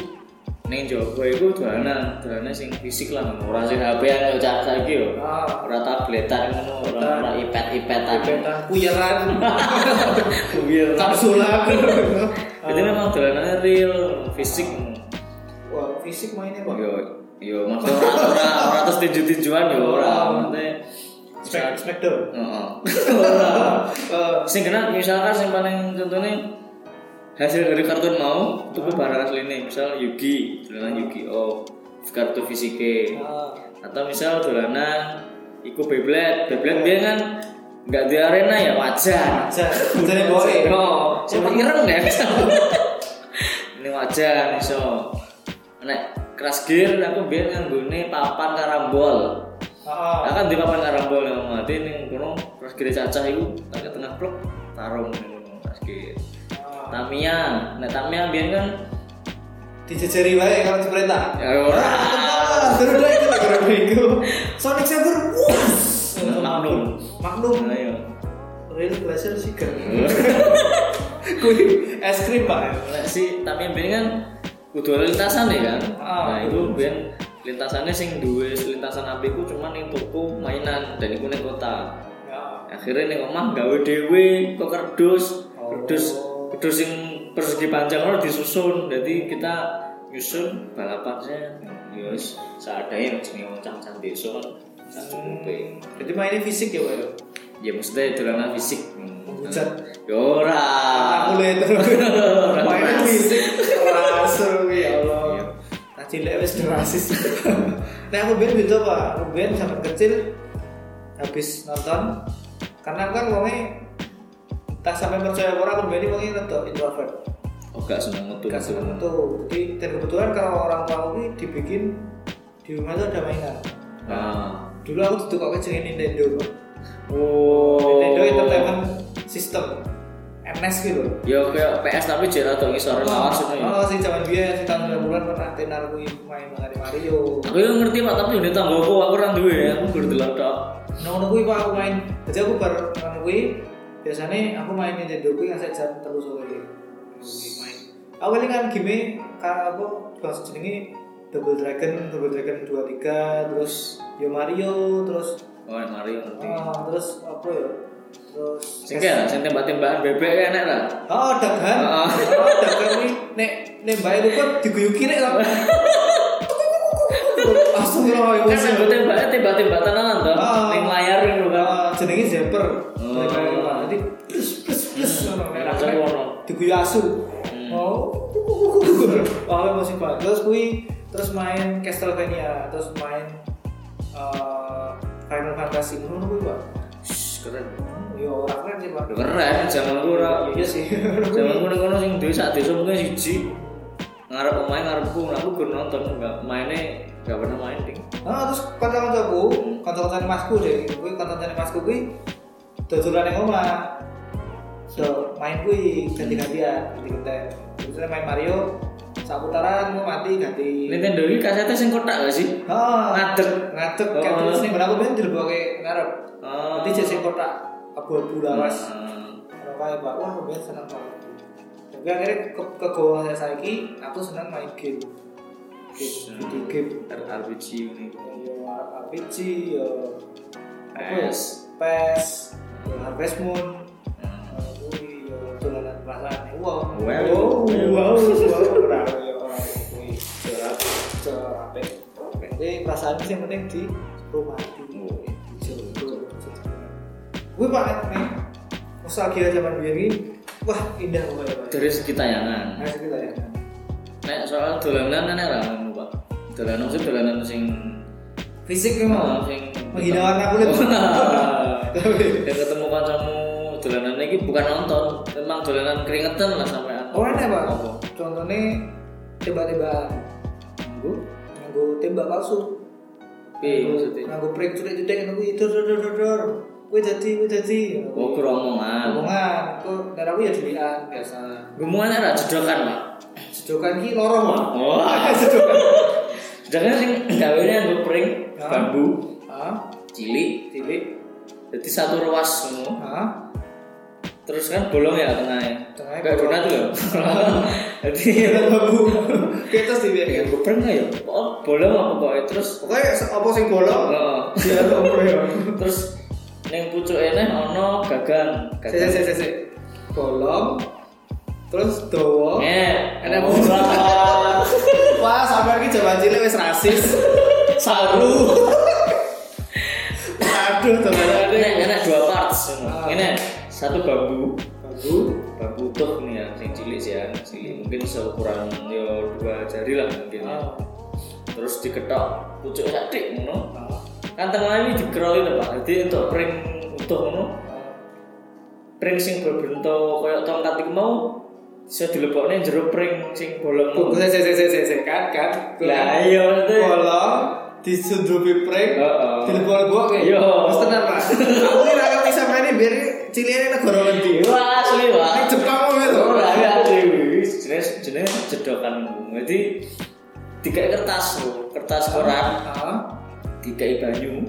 B: Neng Jawa itu dolanan, dolanan sing fisik lah, ora sing HP yang ya, cak saiki yo.
A: Ah,
B: ora tabletan ngono ora ora ipet ipetan
A: peta kuyaran,
B: biar
A: kapsulan.
B: jadi memang dolanannya real fisik
A: Wah, fisik mainnya Pak.
B: yo yo maksudnya ora ora ora terus tinju tinjuan yo ora maksudnya
A: Smack smackdown.
B: heeh (laughs)
A: Eh,
B: sing kena misalkan sing paling contohnya hasil dari kartun mau tuku barang asline misal Yugi dolanan Yugi oh kartu fisiknya
A: ah,
B: atau misal dolanan iku Beyblade Beyblade dia kan nggak di arena ya wajar
A: aja. Jadi boy.
B: no cuma ireng oh, ya (laughs) ini wajar iso nek keras gear aku biar nganggone papan karambol
A: Ah,
B: nah kan di papan karambol yang mati ini kono keras gear cacah itu tak ke tengah blok tarung ini keras gear
A: ah.
B: Tamiya, nek Tamiya biar kan
A: Dijejeri wae kalau diperintah.
B: ya ora
A: Terus udah itu gara minggu. Sonic Saber. wuss.
B: Magnum.
A: Magnum.
B: ayo
A: Real Glacier Seeker. (laughs) Kuih es krim pak. ya?
B: Nah, si tapi ben kan kudu ada lintasan ya kan.
A: Ah,
B: nah, itu ben lintasannya sing duwe lintasan api ku cuman ning toko mainan dan iku ning kota.
A: Ya.
B: Akhirnya ning omah gawe dhewe kok kerdus,
A: Oh.
B: kerdus, kerdus sing persegi panjang ora disusun. Jadi kita nyusun balapan saya. Yes, seadanya yang jenenge wong cah-cah desa kan sak
A: Hmm.
B: cukupe.
A: Jadi mainnya fisik ya pak. ya?
B: Ya maksudnya dolanan fisik. Hmm.
A: Menghujat.
B: Ya ora.
A: Aku lihat terus. Mainnya fisik. Langsung. ya Iya. cilik wis rasis. Nek aku ben gitu Pak, aku ben sampai kecil habis nonton karena aku kan wonge tak sampai percaya orang aku ben wonge rada introvert.
B: oh gak seneng metu
A: Gak seneng tuh. Jadi dan kebetulan kalau orang tua aku ini dibikin di rumah itu ada mainan.
B: ah
A: Dulu aku duduk kok kecilin Nintendo. Pak.
B: oh
A: Nintendo Entertainment System NES gitu.
B: ya kayak PS tapi jek rada ngisor lawar sono ya
A: Oh, sing zaman dia sing tahun 90-an pernah tenar kuwi main Mario Mario.
B: aku yang ngerti pak tapi ini tanggoku aku orang duwe aku gur delok tok
A: Nang Nah, ngono kuwi Pak, aku main. Jadi aku bar ngono kuwi biasanya aku main Nintendo kuwi ngasih jam 3 sore. Kuwi main. Awalnya kan game kan aku bahas jenenge Double Dragon, Double Dragon 23, terus Yo Mario, terus
B: oh mari ngerti
A: ah, terus apa ya? Terus
B: sing kayak sing tembak-tembakan bebek ya enak lah
A: Oh, dagan.
B: Ah.
A: Oh, dagan iki nek nembake lupa diguyuki nek
B: (laughs)
A: sama. Astagfirullah.
B: kan aku tembaknya tembak-tembak tenanan toh
A: Ah.
B: ning layar ngono kan
A: Ah, jenenge zapper.
B: Oh. Hmm.
A: Nanti plus plus plus ngono nek
B: Langsung ngono.
A: diguyu asu.
B: Hmm.
A: Oh. Oh, masih banget. Terus kuwi terus main Castlevania, terus main eh, Final Fantasy ngono kuwi, Pak.
B: Shh, keren
A: Yo ora keren sih, Pak.
B: keren zaman ku ora
A: Iya sih.
B: zaman ku ngono sing duwe sak desa mungkin siji ngarep omahe ngarepku nah, aku gur nonton enggak maine enggak pernah main ding
A: Nah, terus kanca-kancaku, kanca-kancan masku deh, kuwi kanca-kancan masku kuwi dodolan yang omah. So, main kuwi ganti-gantian, ganti-gantian. Terus main Mario, sak putaran mau mati ganti.
B: Nintendo iki kasete sing kotak gak sih
A: Oh,
B: ngadeg.
A: ngadeg
B: Oh.
A: kan terus ning aku ben direbokke ngarep.
B: oh
A: Dadi Ah, jek sing kotak abu-abu lawas.
B: Hmm.
A: Ora kaya Pak, wah ben seneng banget. Tapi akhirnya ke ke goa saya saiki, aku seneng main game. Game, video game.
B: RPG ini
A: Yo RPG, yo
B: PS
A: iya. ya? PES, ya Harvest Moon,
B: Hmm.
A: kuwi ya dolanan perasaan ya wow.
B: Wow.
A: Wow, wow, wow, wow. Jadi perasaan Eh, sih yang penting di rumah Gue banget nih nostalgia zaman biar ini, wah indah banget ya.
B: dari segi tayangan
A: Nah, sekitar ya.
B: nek soal dolanan enak lah ngono pak dolanan sih dolanan sing
A: Fisik memang
B: sing
A: menghina warna kulit.
B: (laughs) ya ketemu kancamu dolanan ini bukan nonton memang dolanan keringetan lah sampai aku
A: Oh enak pak.
B: Apa?
A: Contohnya tembak-tembakan.
B: minggu
A: nganggo tembak palsu
B: Piye Iya, maksudnya?
A: nganggo prank culik culik ngono kuwi dor dor dor dor dor kuwi dadi kuwi dadi
B: oh keromongan
A: omongan ku nek aku ya dilian biasa
B: gemungannya ra jedokan pak
A: sedokan iki loro mah
B: wah
A: (laughs) sedokan
B: sedangkan sing gawene nggo pring
A: Ya.
B: bambu
A: ha
B: cilik
A: cilik
B: jadi satu ruas ngono
A: ha
B: terus kan bolong ya tengahnya
A: Tengahnya
B: kayak
A: bolong.
B: donat
A: (laughs)
B: loh jadi
A: kira babu ketos di
B: ya
A: biar
B: gue pernah ya oh bolong apa pokoknya terus
A: pokoknya se- apa sing bolong
B: oh,
A: ya apa ya
B: terus neng pucuk ini ono gagang
A: sik
B: gagang
A: sik sik sik bolong terus dawa
B: eh
A: Enak Wah, sampean iki jaman cilik wis rasis. (laughs) Saru. Aduh, teman-teman.
B: enak enak dua parts
A: Ah.
B: ini satu bambu
A: Bambu.
B: bambu utuh nih ya yang cilik sih ya cilik mungkin seukuran yo dua jari lah mungkin
A: Ah.
B: ya. terus diketok pucuk sadik ngono kan tengah ini dikerolin lho, pak jadi untuk pring utuh ngono pring sing berbentuk kayak tongkat iku mau bisa dilebokne jero pring sing bolong mau.
A: Bumbu saya saya saya saya saya kan kan.
B: Lah iya itu.
A: Bolong disundupi prank,
B: Heeh. Iya.
A: dilebur gua kayak.
B: Yo.
A: Mas tenang, Pak. Aku ini ra ngerti sampean ini biar ciliknya negara ngendi.
B: Wah asli wah.
A: Ini Jepang kok gitu.
B: Ora ya asli. Jenis jenis jedokan. Jadi tiga kertas lho, kertas koran,
A: Heeh.
B: tiga banyu,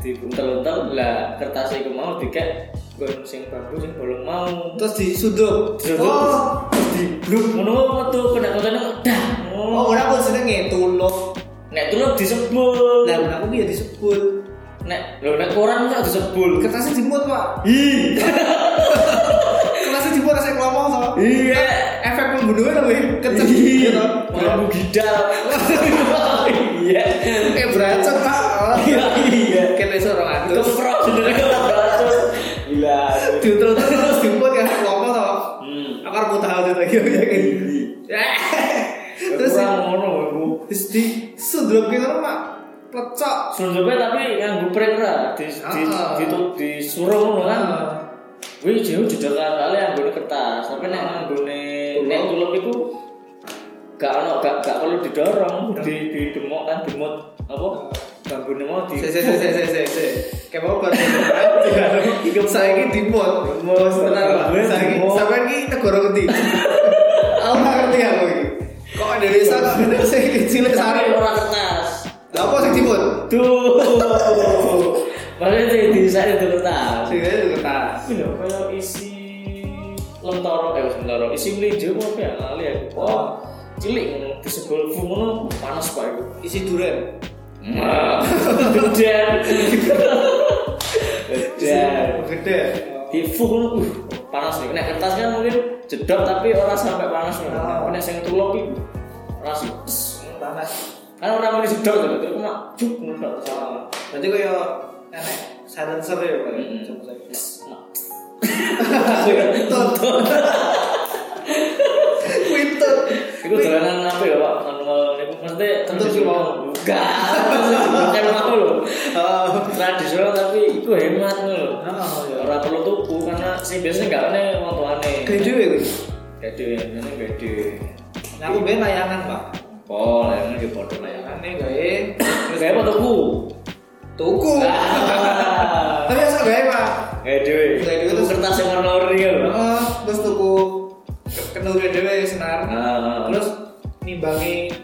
B: diuntel-untel lah kertas iku mau tiga gon sing bambu sing bolong mau.
A: Terus disundup.
B: Disundup.
A: Oh,
B: Di bluk ngono metu kena kono dah.
A: oh,
B: Oh.
A: ora kok senenge tulung.
B: Nek tulung disebul.
A: Lah, aku piye disebut?
B: Nek lho nek koran kok disebul.
A: Kertasnya dimuat, Pak.
B: Ih.
A: kelasnya jebol rasanya ngomong so
B: Iya.
A: efek pembunuhan lebih kecil
B: Iya,
A: gitu
B: malah gidal. (laughs) Iya.
A: eh beracun pak
B: Iya, iya.
A: kita iso orang atus
B: Keprok
A: (laughs)
B: sebenarnya beracun. Gila.
A: diutul terus jebol kan ngomong so
B: Hmm.
A: aku harus tahu itu lagi ya kan Eh. terus
B: Kurang ngono aku.
A: Terus di sundrop ke ngono mak plecok.
B: Selunjuknya tapi nganggo prank ra di di
A: Ah.
B: di disuruh ngono kan.
A: Ah.
B: Wih, jauh judul kali nganggo kertas,
A: Ah.
B: tapi nek nganggo nek tulip iku gak ono gak gak perlu didorong,
A: Ah.
B: di di demok kan demot apa? Bambu mau di
A: Se se se se se se se. Kayak mau kan. Hidup saya ini dimot. Mau tenang lah.
B: Gue
A: Saya ini
B: dimot.
A: sampean iki negara (laughs) ngerti. Aku gak ngerti aku iki. Kok Indonesia kok ada sing kecil
B: (laughs) Tapi
A: sare.
B: ora kertas.
A: Lah apa sing dimot?
B: Duh. (laughs) Makanya sih di saya itu kertas.
A: Sing itu kertas.
B: Tapi lho, kalau isi lentoro eh lentoro isi melinjo apa ya lali aku. Oh, cilik ngono disebul fu ngono panas pak itu.
A: Isi durian.
B: Dudan. Dudan.
A: Gede.
B: Di fu ngono uh, panas nih. Nek kertas kan mungkin jedot tapi orang sampai panas nih.
A: Ah.
B: Nek sing tulok iku panas. sih. Tes.
A: Panas.
B: Kan ora muni jedot lho, terus cuma juk ngono.
A: Oh. Berarti kaya enek silencer ya Pak.
B: Mm-mm.
A: Coba saya. (laughs)
B: (laughs) Tok.
A: Wintut.
B: Iku dolanan apa ya Pak? Manual niku mesti
A: Kentut sih, Pak.
B: Enggak. Bukan mau lho.
A: Oh.
B: Tradisional tapi iku hemat ngono lho.
A: Oh, ya.
B: Ora perlu tuku karena sing biasanya enggak ana wong tuane.
A: Kayak dhewe kuwi.
B: Gede, ngene gede.
A: Nah, Aku ben layangan, Pak.
B: Oh, layangan ya padha layangan.
A: Layangan gawe
B: Saya apa
A: (laughs)
B: tuku?
A: tuku.
B: Ah.
A: Tapi asal gawe, Pak.
B: Gede.
A: Gede itu
B: Tuku kertas yang warna ori ya, Pak.
A: Heeh, terus tuku kenure dhewe senar.
B: Nah,
A: Terus nimbangi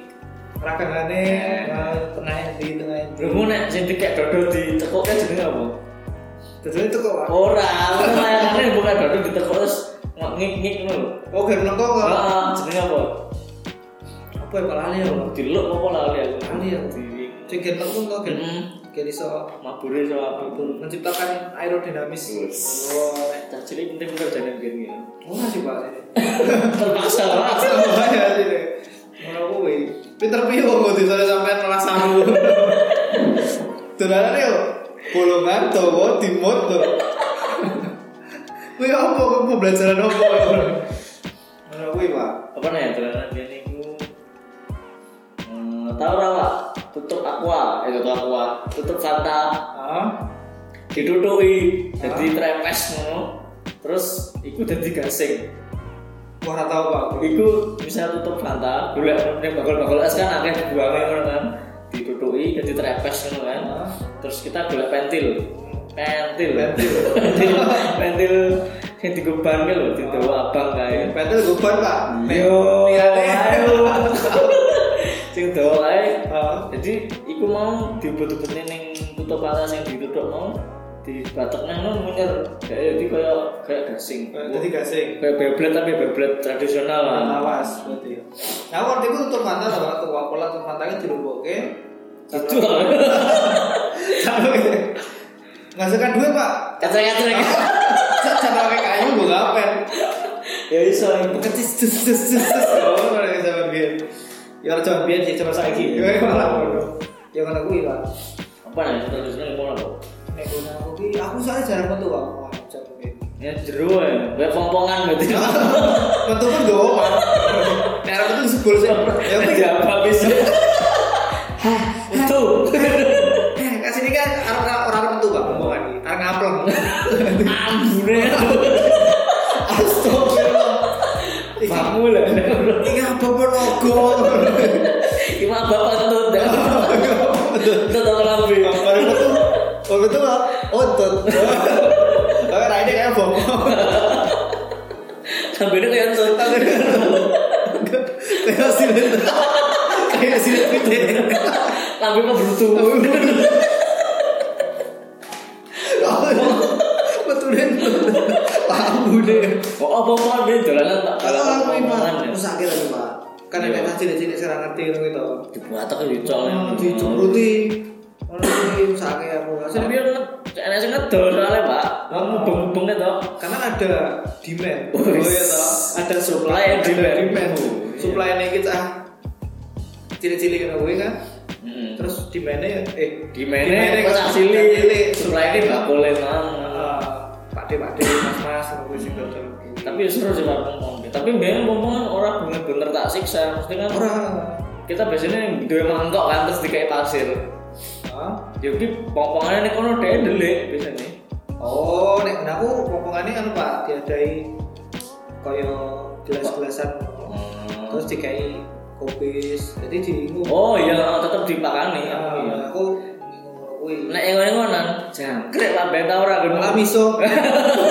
A: rakangane
B: Eh.
A: nah, tengahnya di tengahnya.
B: Lho nek sing dikek dodol ditekuk kan jenenge apa?
A: Terus itu kok, Pak.
B: Ora, ora layangannya bukan dodol ditekuk terus ngik-ngik ngono lho.
A: Oh, gak menengko kok.
B: Ah, jenenge apa?
A: Apa ya, Pak lali ya, Pak?
B: Diluk apa lali aku?
A: Lali ya.
B: Di-
A: Cek gen menengko kok, gen.
B: Mm.
A: Gen iso
B: Mabure sama aku.
A: menciptakan aerodinamis.
B: Wes.
A: Wah,
B: Cacili penting bener jane begini. ya.
A: ngono sih, Pak.
B: Terpaksa lah.
A: Ngono kuwi. Peter piye wong kudu sore sampean rasanu. Dolane yo bolongan dawa dimut to. Kuwi apa kuwi pembelajaran apa? Ngono kuwi, Pak.
B: Apa nih celana dia niku? Hmm, Tahu ora, Pak? Tutup aqua, eh tutup aqua. Tutup Fanta
A: Heeh.
B: ditutupi jadi trepes ngono. Terus iku dadi gasing.
A: Wah, ora tau, Pak.
B: Iku bisa tutup Fanta, golek ning bakul-bakul es kan akeh dibuange ngono kan. Ditutupi jadi trepes ngono kan.
A: Heeh.
B: Terus kita golek pentil. Pentil. (laughs)
A: Pentil.
B: pentil pentil sing digo bangke lho didawa abang kae
A: Petel guban, Pak.
B: yo ayo (laughs) sing dawa kae
A: Heeh.
B: jadi iku mau diubut-ubutne ning tutup atas sing ditutup mau dibatekne ngono munyer jadi kaya kaya gasing
A: Dadi gasing.
B: kaya beblet tapi beblet tradisional lah
A: Awas berarti. Nah, waktu itu tutup mata sama tutup wakola tutup matanya dilumpukke.
B: itu
A: Ngasilkan duit, Pak.
B: kacang-kacang
A: Cara pakai kayu gue ngapain?
B: ya iso iku.
A: Ketis tes tes tes tes. Oh, mana yang zaman biar? Ya orang zaman biar sih cuma saiki. Ya malah bodoh. Ya kan aku iya.
B: apa nih tradisional iku apa
A: Nek gue nang aku ki, aku saya jarang metu aku. Zaman biyen.
B: ya jero ya kaya pongpongan berarti
A: Metu pun gak apa. Nek aku tuh sebul sih. Ya
B: ya
A: aku
B: apa bisa itu
A: (laughs) kasih ini kan orang orang metu pak omongan ini. Orang (laughs) ngapleng.
B: ambune
A: Astagfirullah. Iki-
B: kamu lah
A: Iki apa penogo?
B: cuma bapak tuh
A: (laughs)
B: tuh tuh lambe
A: Baru itu, baru itu mah otot. Tapi Raiden kayak bohong.
B: sambil itu kayak tuh
A: Kayak silet, kayak silet gede.
B: lambe mah brutu
A: Betul deh, lambu deh.
B: oh apa apa dia dolanan tak
A: Kalau aku ini mah,
B: Omongan, ya.
A: sakit lagi mah. Kan
B: Iya.
A: ada cilik-cilik saya ngerti gitu.
B: dibuat aku dicol ya.
A: Oh, Dicuruti, orang sakit aku. Asli
B: Sambil enak sih ngedol soalnya pak kamu beng-bengnya toh
A: karena ada demand
B: Oh,
A: ya toh ada supply
B: Supply and demand.
A: ada demand
B: Oh, iya.
A: supply nya kita ah, cilik-cilik kan gue kan
B: Mm.
A: terus demandnya eh
B: di
A: demandnya
B: mana kok tak
A: cilik cilik
B: cilik supply ini bakul emang
A: Eh, pakde pakde mas mas gue sih gak tahu
B: ya tapi seru sih pak pompong tapi memang pompong kan orang bener-bener tak siksa mesti kan
A: orang
B: kita biasanya dua mangkok kan terus dikai pasir
A: Hah?
B: jadi pompongannya ini kono deh delik biasanya
A: oh nek nah aku pokongannya kan pak diadai koyo gelas-gelasan terus dikai kopis jadi diingu
B: oh iya tetap dipakani
A: Nah,
B: aku iya.
A: aku ngono kuwi
B: nek yang ngono ngono jangkrik lah ben tau ora
A: malah
B: gunung
A: miso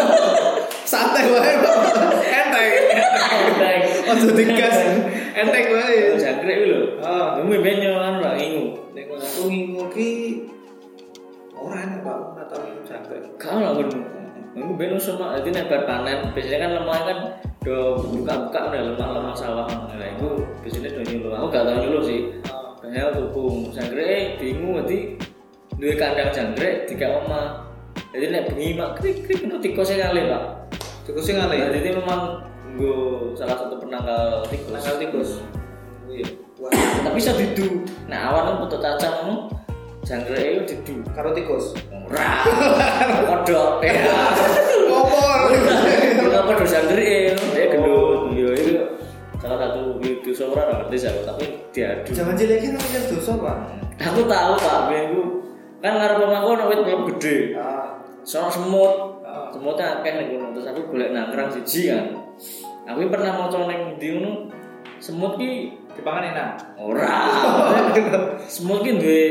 A: (laughs) santai wae Pak. enteng (laughs) ojo digas enteng wae
B: jangkrik lho
A: ah
B: Demi ben yo anu lah ingu.
A: nek ngono aku ngingu ki ora enak pak ora tau ngingu jangkrik
B: Kau lah ben. Aku ben usah mak dadi nek bar panen biasanya kan lemah kan do buka-buka udah lemah-lemah sawah. Nah iku biasanya do nyuluh. Aku gak tau nyuluh sih.
A: Ah.
B: Kayaknya tuku jangkrik eh, bingung berarti duwe kandang jangkrik tiga oma. Jadi nek bengi mak krik krik itu tikusnya e kali pak.
A: Cukup sing
B: Nah,
A: ngale.
B: jadi memang gue salah satu penangkal tikus.
A: Penangkal tikus. Kuwi. Wah,
B: Tapi bisa didu. Nah awan kan putus cacang kan jangkrik itu didu.
A: karo tikus. (laughs)
B: murah kodok ya
A: Kompor.
B: kita kodok santri ya. dia gendut yo itu salah satu video seorang nggak ngerti saya tapi diadu
A: Jangan jelekin aku jas dosa, Pak.
B: aku tahu pak minggu kan ngarep omahku ono wit belum gede
A: Ah.
B: soal semut
A: Ah.
B: semutnya akeh nih gunung terus aku golek nangkrang siji kan aku pernah mau neng di ngono semut ki
A: Dipangan enak. (laughs)
B: ora (laughs) semut ki duwe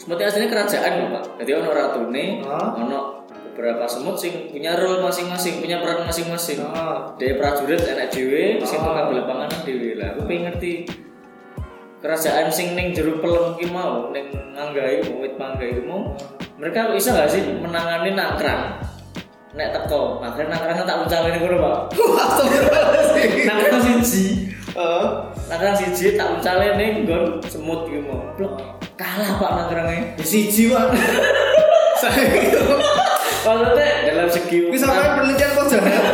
B: semutnya aslinya kerajaan lho pak jadi ono ratune
A: Hah?
B: ono beberapa semut sing punya role masing-masing punya peran masing-masing
A: Ah.
B: dari prajurit anak dewe sing
A: Oh.
B: tukang golek panganan dewe lah aku pengen ngerti kerajaan sing ning jero pelem ki mau ning mangga iku wit mangga iku mau mereka bisa gak sih menangani nangkrang nek teko akhirnya nangkrangnya tak ucapin ngono pak
A: Astagfirullahaladzim.
B: nangkrang siji
A: Eh,
B: nangkrang siji tak uncale ning nggon semut iki mau. Blok. Kalah Pak nangkrange.
A: Ya, siji, Pak. Saya gitu.
B: Maksudnya dalam segi
A: Ini sampai penelitian kok jangan.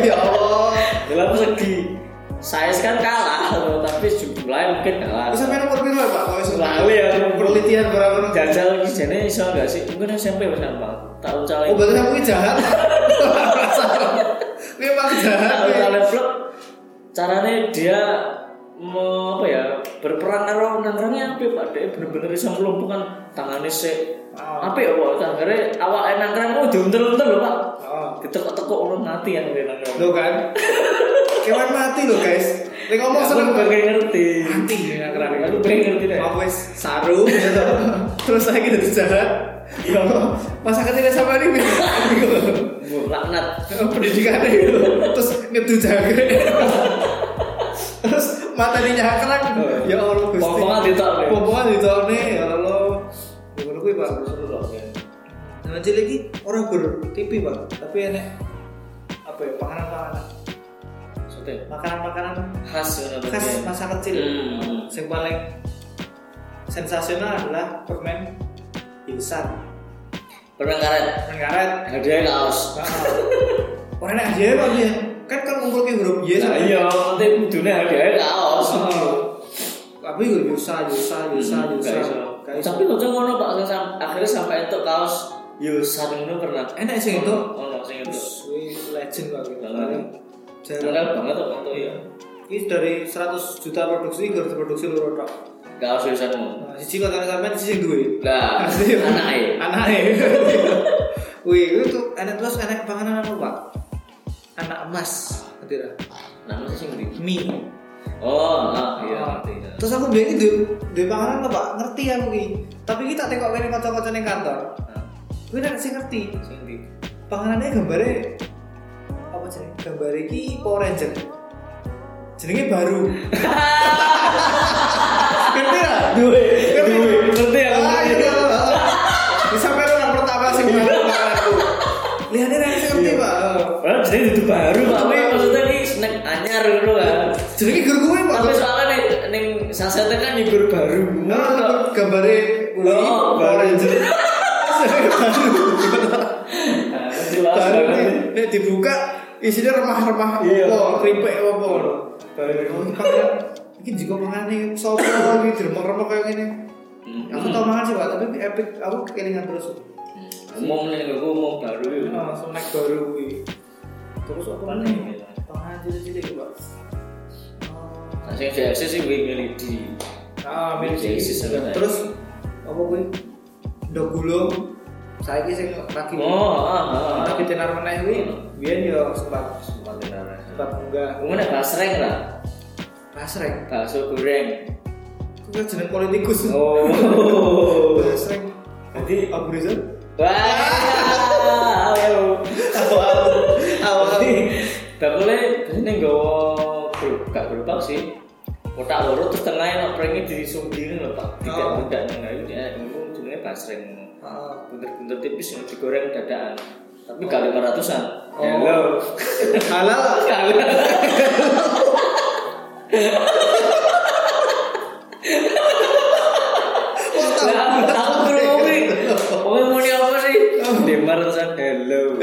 A: Ya Allah.
B: dalam segi size kan kalah (laughs) loh, tapi jumlahnya mungkin kalah.
A: Ini sampai nomor piro, Pak? Kalau iso-
B: Lalu ya perlu
A: penelitian berapa?
B: jajal iki jane iso gak sih? Mungkin SMP wis gampang. Tak uncale.
A: Oh, berarti kamu ini jahat. Ini emang jahat.
B: tak
A: Pak.
B: uncale blok. Carane dia mau apa ya berperan karo nangkrangnya apik Pak. Dia bener-bener iso melumpuhkan tangannya sik.
A: Ah.
B: Apik ya Pak, tanggere awal nangkrang oh diuntel-untel lho Pak.
A: Ah.
B: ditekuk-tekuk orang mati ya, yang dia nangkrong
A: Lo kan? Kewan mati lo guys. Lek ngomong
B: Ya, aku
A: seneng banget.
B: pengen ngerti
A: Mati ya ngerang.
B: aku pengen ngerti deh
A: Mau wes saru gitu. (laughs) Terus lagi dari sejarah. Ya Allah, masa kecilnya sama ini gitu.
B: Bu, laknat
A: Pendidikannya gitu. Terus nyetu jaga. Terus matanya nyakrak. Ya Allah gusti.
B: Pomongan ditok, ya.
A: Pomongan di ya Allah. Ya ngono kuwi, Pak. Nah, jadi lagi orang bertipi pak, tapi enak apa ya panganan-panganan,
B: Maksudnya,
A: makanan-makanan
B: khas ya,
A: khas
B: namanya.
A: masa kecil.
B: Hmm.
A: yang paling sensasional adalah permen insan
B: permen karet
A: permen karet
B: (laughs) hadiah kaos
A: Nah, orang enak aja pak dia kan kan ngumpul ke grup dia
B: Nah, iya penting kudunya hadiah kaos
A: tapi gue yusa yusa yusa
B: Hmm,
A: yusa
B: gak iso.
A: Gak iso.
B: tapi kok ngono pak sing sam- akhirnya sampai itu kaos Yusan ngono pernah
A: enak sih itu
B: oh no sing itu
A: Wih, legend pak gitu
B: Banget.
A: jarang
B: Terkenal banget kok itu ya
A: Iya. ini dari 100 juta produksi harus produksi luar tok
B: kaos
A: nah
B: Yusanmu
A: sisi kota sampean sisi duit
B: (laughs) lah
A: Asli.
B: anaknya
A: anak (laughs) wih itu enak terus enak panganan apa pak anak emas ketira
B: namanya sih ngerti
A: mie
B: Oh, ah, iya
A: Ah.
B: ngerti. ya.
A: terus aku bilang itu di panganan apa pak ngerti aku ki tapi kita tengok kene kocok-kocok ning kantor
B: Nah,
A: gue nek sih ngerti
B: sing di
A: panganannya gambarnya apa sih gambarnya ki Power Ranger jenenge baru
B: (laughs)
A: ngerti lah
B: Duwe,
A: Ngerti?
B: duwe, ngerti ya,
A: Ah,
B: ngerti. Iya.
A: iya. Bisa sampai orang pertama sih bukan orang kedua. Lihatnya nanti ngerti pak.
B: Padahal jadi itu baru Pak Wi, maksudnya ini snack anyar gitu kan.
A: Jadi guru gue pak.
B: Tapi soalnya nih ning sasetnya kan nyugur baru.
A: Nah, gambarnya Uli,
B: Oh,
A: Power Ranger.
B: (laughs) Nah,
A: Baru,
B: jelas
A: baru
B: banget.
A: nih, nih dibuka isinya remah-remah
B: Iya.
A: apa, keripik apa. Oh, ini panganan. Ini juga panganan nih, sopo ini diremah-remah kayak gini.
B: Hmm. Ah,
A: Aku tau makan sih pak, tapi epic, aku kelingan terus.
B: Umum nih aku umum baru. ya.
A: Nah, snack baru gue. Terus apa nih? Panganan cilik-cilik pak. Eh,
B: Nah, sing JFC sih gue milih di
A: Ah, milih
B: Milih
A: sih.
B: sih sebenarnya.
A: Terus apa kuwi? Ndok gulo saiki sing lagi
B: Oh, Hmm. ah, ah, ah.
A: lagi tenar meneh kuwi biyen yo sempat
B: Sempat
A: sempat
B: tenar.
A: munggah
B: Gue nih basreng lah,
A: Basreng.
B: bakso goreng.
A: Kuwi kan jeneng politikus.
B: Oh.
A: Basreng.
B: Jadi
A: Abu Rizal.
B: Wah, ayo. Jadi, bakulnya biasanya nggawa beru- gak gerobak sih. Kotak loro terus tengahnya nak prengi disungkirin lho Pak. Tidak
A: Oh.
B: tidak nengah ini ya dulu jenenge basreng.
A: Heeh.
B: Bunter-bunter tipis yang digoreng dadaan. Tapi gak 500-an.
A: Oh. Halal.
B: Lah, aku grogi. Kowe mau ni apa sih? Demar san hello.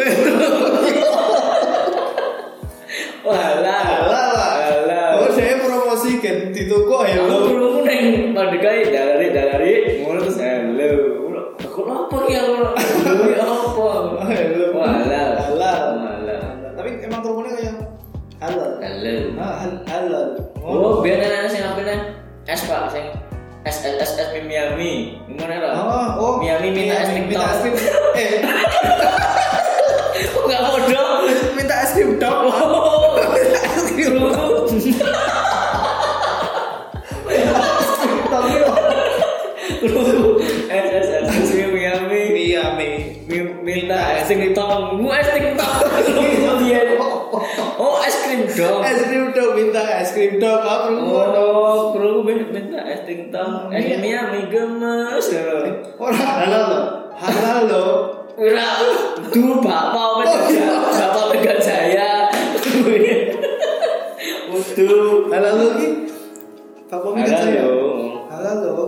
B: Walah.
A: Halal lah.
B: Walah.
A: Oh, saya promosi kan di toko ya
B: Aku
A: lo.
B: grogi neng pandekai dalari dalari ngono terus hello. Aku lho, apa ki aku? lho? Hello ki apa?
A: Hello.
B: Walah.
A: Halal.
B: Walah.
A: Tapi emang promonya kayak halal.
B: Hello.
A: Ah, hal- halal.
B: Oh, biar kan ada sing apa nih? Es pak, sing es es es es mie Miami, gimana lah?
A: Oh, oh.
B: Miami minta es
A: Miami,
B: krim
A: minta es
B: top.
A: krim. Eh, (laughs)
B: Kok nggak bodoh?
A: minta es krim dong. (laughs)
B: Oh,
A: Tapi
B: es es es es mie Miami,
A: Miami.
B: Mi- minta es krim top, gua es krim top. Iya. Oh, es krim dong.
A: Es krim dong minta es krim dong. Ah, promo dong.
B: Oh, kru minta es krim top, es
A: Iya.
B: Miami gemes.
A: Orang halal loh. Halal loh.
B: Wira, dulu bapak Omen Jaya, bapak Omen Jaya. Waduh.
A: Halal loh ki. Apa minta
B: Halal
A: saya?
B: yo.
A: Halal loh.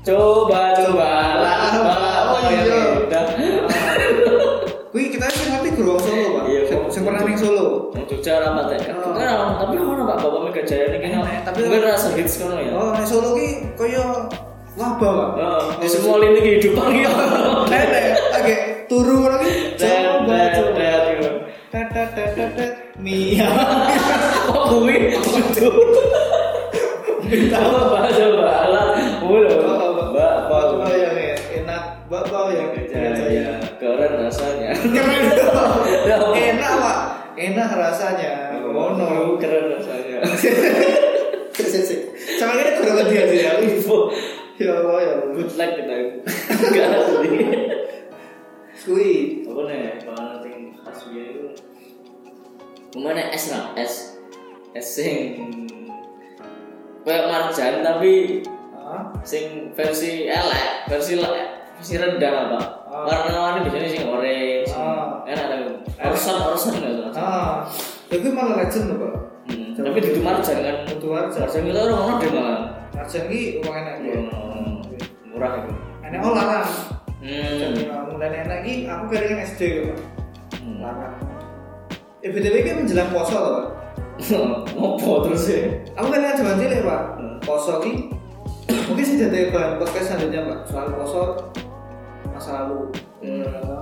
B: Coba coba.
A: Lah,
B: Bapak
A: oh,
B: yang
A: iya.
B: indah.
A: Kuwi kita sing ngerti gerowong Solo, Pak.
B: Iya,
A: Sing-
B: Pak.
A: Sing pernah ning Solo.
B: Wong Jogja ora patek.
A: Oh.
B: Kan orang- tapi ngono Pak Bapak Omen Jaya ini kan.
A: Enak, tapi-
B: Tapi mungkin rasa hits kono ya.
A: Oh, ning Solo ki kaya wabah, Pak.
B: Heeh, Di semua lini kehidupan gitu.
A: Nenek, oke, turu ngono ki.
B: Tet,
A: Coba,
B: tet,
A: coba.
B: tet, gitu.
A: Tet, tet, tet, tet, tet. Mia.
B: Kok kuwi? Waduh.
A: Minta
B: Coba coba lah. Mulu.
A: Oh,
B: Mbak, Pak.
A: Bapak yang enak, Bapak yang iya.
B: Jaya keren rasanya
A: Keren dong.
B: Ya.
A: Enak, Pak. Enak rasanya. Oh, no.
B: (laughs) keren
A: (laughs)
B: rasanya
A: Sik, sik, sik. Sama ini kurang dia sih ya.
B: info
A: Ya Allah, ya Allah.
B: good luck kita gak asli
A: Kuwi.
B: apa nih kalau sing khas biaya itu kemana es lah es es sing kayak marjan tapi
A: Hah?
B: sing versi elek versi le- versi rendah apa
A: Ah.
B: warna-warni biasanya sing orange sing-
A: Ah.
B: enak tapi orson orson nggak tuh?
A: Ah, itu malah legend loh pak.
B: Hmm, tapi di marjan kan
A: Itu warga.
B: marjan kita orang orang deh malah Iya.
A: Arjen ki uang enak ya.
B: Hmm. murah itu
A: Enak oh larang. ah,
B: hmm.
A: Mulai enak ki aku keringan SD loh pak. Larang. Eh btw ki menjelang poso loh pak.
B: (laughs) ngopo terus ya
A: Aku keringan zaman cilik pak.
B: Hmm.
A: Poso ki (coughs) mungkin sih jadi bahan podcast selanjutnya pak soal poso masa lalu.
B: Hmm.
A: Eh,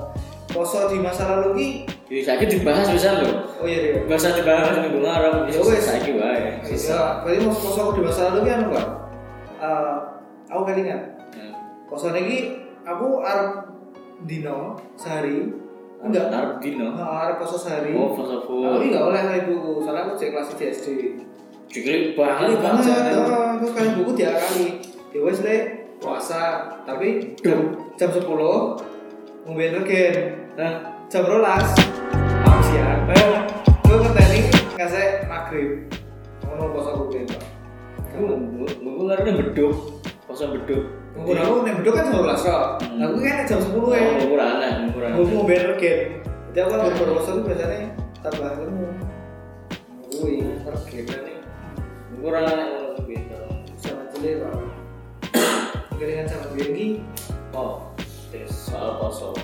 A: Poso di masa lalu ki.
B: jadi saya dibahas bisa loh
A: Oh iya iya.
B: bahasa dibahas minggu ngarep
A: Ya wes.
B: saya gitu wae sisa
A: Ya, berarti mau poso aku di masa lalu ki anu pak. Eh, aku keringan. Kosan ini aku arep dino sehari. Enggak.
B: ngarep dino
A: Nah, arep poso sehari.
B: oh filsafo
A: Tapi enggak oleh kayak buku, soalnya aku cek kelas 1 SD.
B: cilik
A: Kali
B: banget
A: banget, ah, aku kayak buku tiap kali. Ya wes deh, puasa. Tapi jam, jam 10 ngombe regen.
B: nah
A: Jam 12 makan siang. Gue ya? ngeteni ngasih maghrib. Ngono poso aku ben. Pak.
B: gue ngarepnya beduk kosan beduk
A: Ngumpul
B: Iya.
A: aku nek bedok kan jam 12 kok. Nah, aku kan jam 10 ya.
B: ngukur anak ngukur
A: gue mau bayar regen jadi aku ambil berpuasa tuh biasanya tambah ilmu kan gue regen
B: ngukur anak gitu
A: sama jelek pak dengan sama Bengi
B: oh soal kosong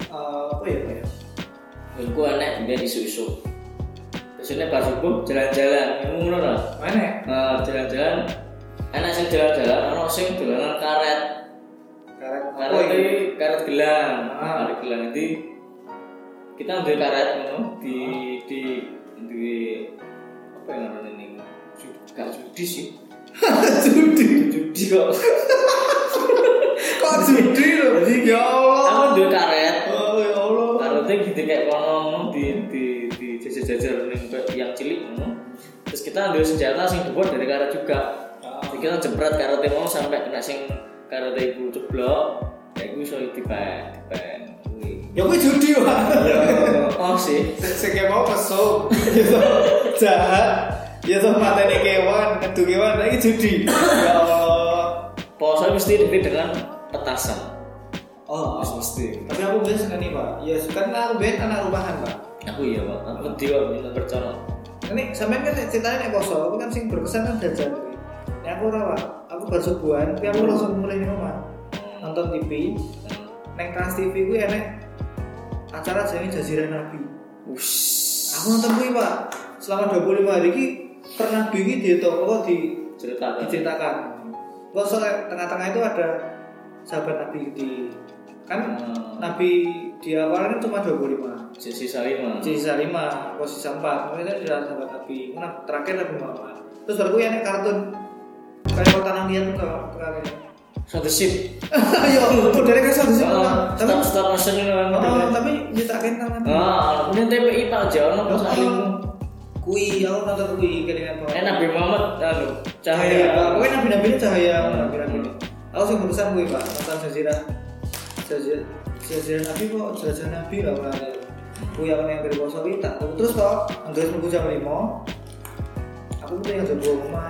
A: eh, apa ya pak ya
B: Dan gue enak dia isu-isu Biasanya pas hukum jalan-jalan Kamu ngono lah
A: mana ya?
B: Nah, Jalan-jalan Enak sing jalan-jalan Ono sing dolanan karet
A: karet apa
B: Karet
A: ini?
B: itu karet gelang
A: Ah.
B: Karet gelang Ah. itu Kita ambil karet ngono Di Di Di
A: (laughs) Ya Oh,
B: Oh. gitu, sejajar ning ke- yang cilik ngono. Terus kita ambil senjata sing dhuwur dari karet juga. Jadi kita jempret karate mau sampai kena sing karate iku ceblok. Ya iku iso diban, diban. Kuwi.
A: ya gue judi pak (laughs)
B: Oh sih.
A: Sekep mau pesok, gitu jahat, ya tuh matanya kewan, ngedu kewan, lagi judi. Ya Allah.
B: Poso mesti dibeli dengan petasan.
A: Oh,
B: mesti.
A: tapi aku biasa suka nih pak. Ya suka karena aku biasa anak rumahan pak.
B: Aku iya, Pak. Aku wedi kok minum percaya.
A: Ini sampean kan ceritanya nih kosong, aku kan sing berkesan kan jajan. Ini aku rawa, aku bersubuhan, tapi aku langsung mulai di rumah nonton TV. Neng Trans TV gue enek acara jadi Jazirah Nabi.
B: Ush.
A: Aku nonton gue pak, selama 25 hari ini pernah bingi di toko di
B: Cerita kan?
A: diceritakan kok soalnya tengah-tengah itu ada sahabat nabi di kan
B: Hmm.
A: nabi di awalnya cuma 25
B: Sisi Salima.
A: di sisa 5 kok sisa 4 kemudian ada sahabat nabi Nah, terakhir nabi Muhammad terus baru gue yang kartun kayak kota nantian tuh kalau terakhir (laughs)
B: So the ship.
A: ayo modelnya kayak satu sih
B: Ah,
A: tapi
B: Star Star Ocean ini kan.
A: oh, tapi nyetakin tangan
B: Ah, kemudian TPI Pak Jawa
A: Oh,
B: nopo saling.
A: kui aku nonton kui kelingan banget
B: Eh Nabi Muhammad aduh
A: cahaya oh. Iya, pak
B: cahaya.
A: pokoknya nabi nabi ini cahaya
B: Hmm.
A: nabi nabi ini aku sih berusaha gue pak tentang jazirah jazirah jazirah nabi kok jazirah nabi lah pak gue yang yang dari bosok ini tak tahu. terus kok anggur nunggu jam lima aku tuh yang jam dua rumah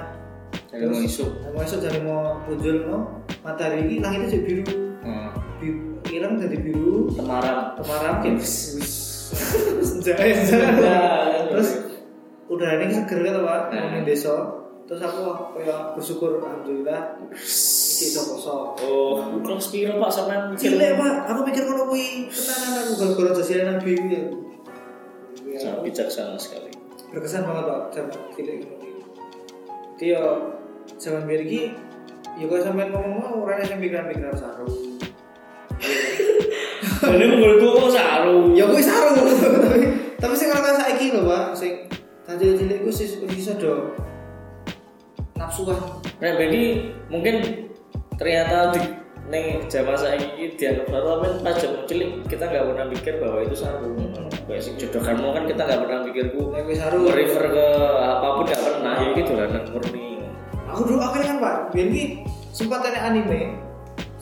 B: Dari mau isuk.
A: mau esok jam lima muncul no matahari ini langitnya jadi biru
B: Hmm.
A: biru ireng jadi biru
B: Temaram.
A: kemarin kayak
B: Wis.
A: senja eh, senja
B: Ya,
A: (laughs) terus udara ini seger gitu pak
B: Nah.
A: ngomongin desa terus aku kayak bersyukur alhamdulillah iki iso kosong
B: Oh, kelas piro Pak sampean?
A: Gile pak, aku mikir kalau kui tenanan aku gara-gara jasiran nabi ini ya. Iya,
B: Sangat bijaksana sekali. (laughs)
A: Berkesan banget pak, zaman cilik ngono kuwi. Jadi ya zaman biar iki, ya kalau sampean ngomong mau orang yang pikiran-pikiran sarung.
B: Ini mulutku kok oh, saru.
A: Ya kui sarung, tapi tapi sing kalau saiki lho pak, sing tadi cilik gue sih iso do nafsuan.
B: Nah, jadi mungkin ternyata di neng zaman saya ini dianggap saru tapi pas zaman cilik kita nggak pernah mikir bahwa itu saru. Kayak si jodoh kamu kan kita nggak pernah mikir bu
A: Nek kui sarung.
B: refer ke apapun nggak pernah ya gitu lah murni.
A: aku dulu aku kan pak biar ini sempat ada anime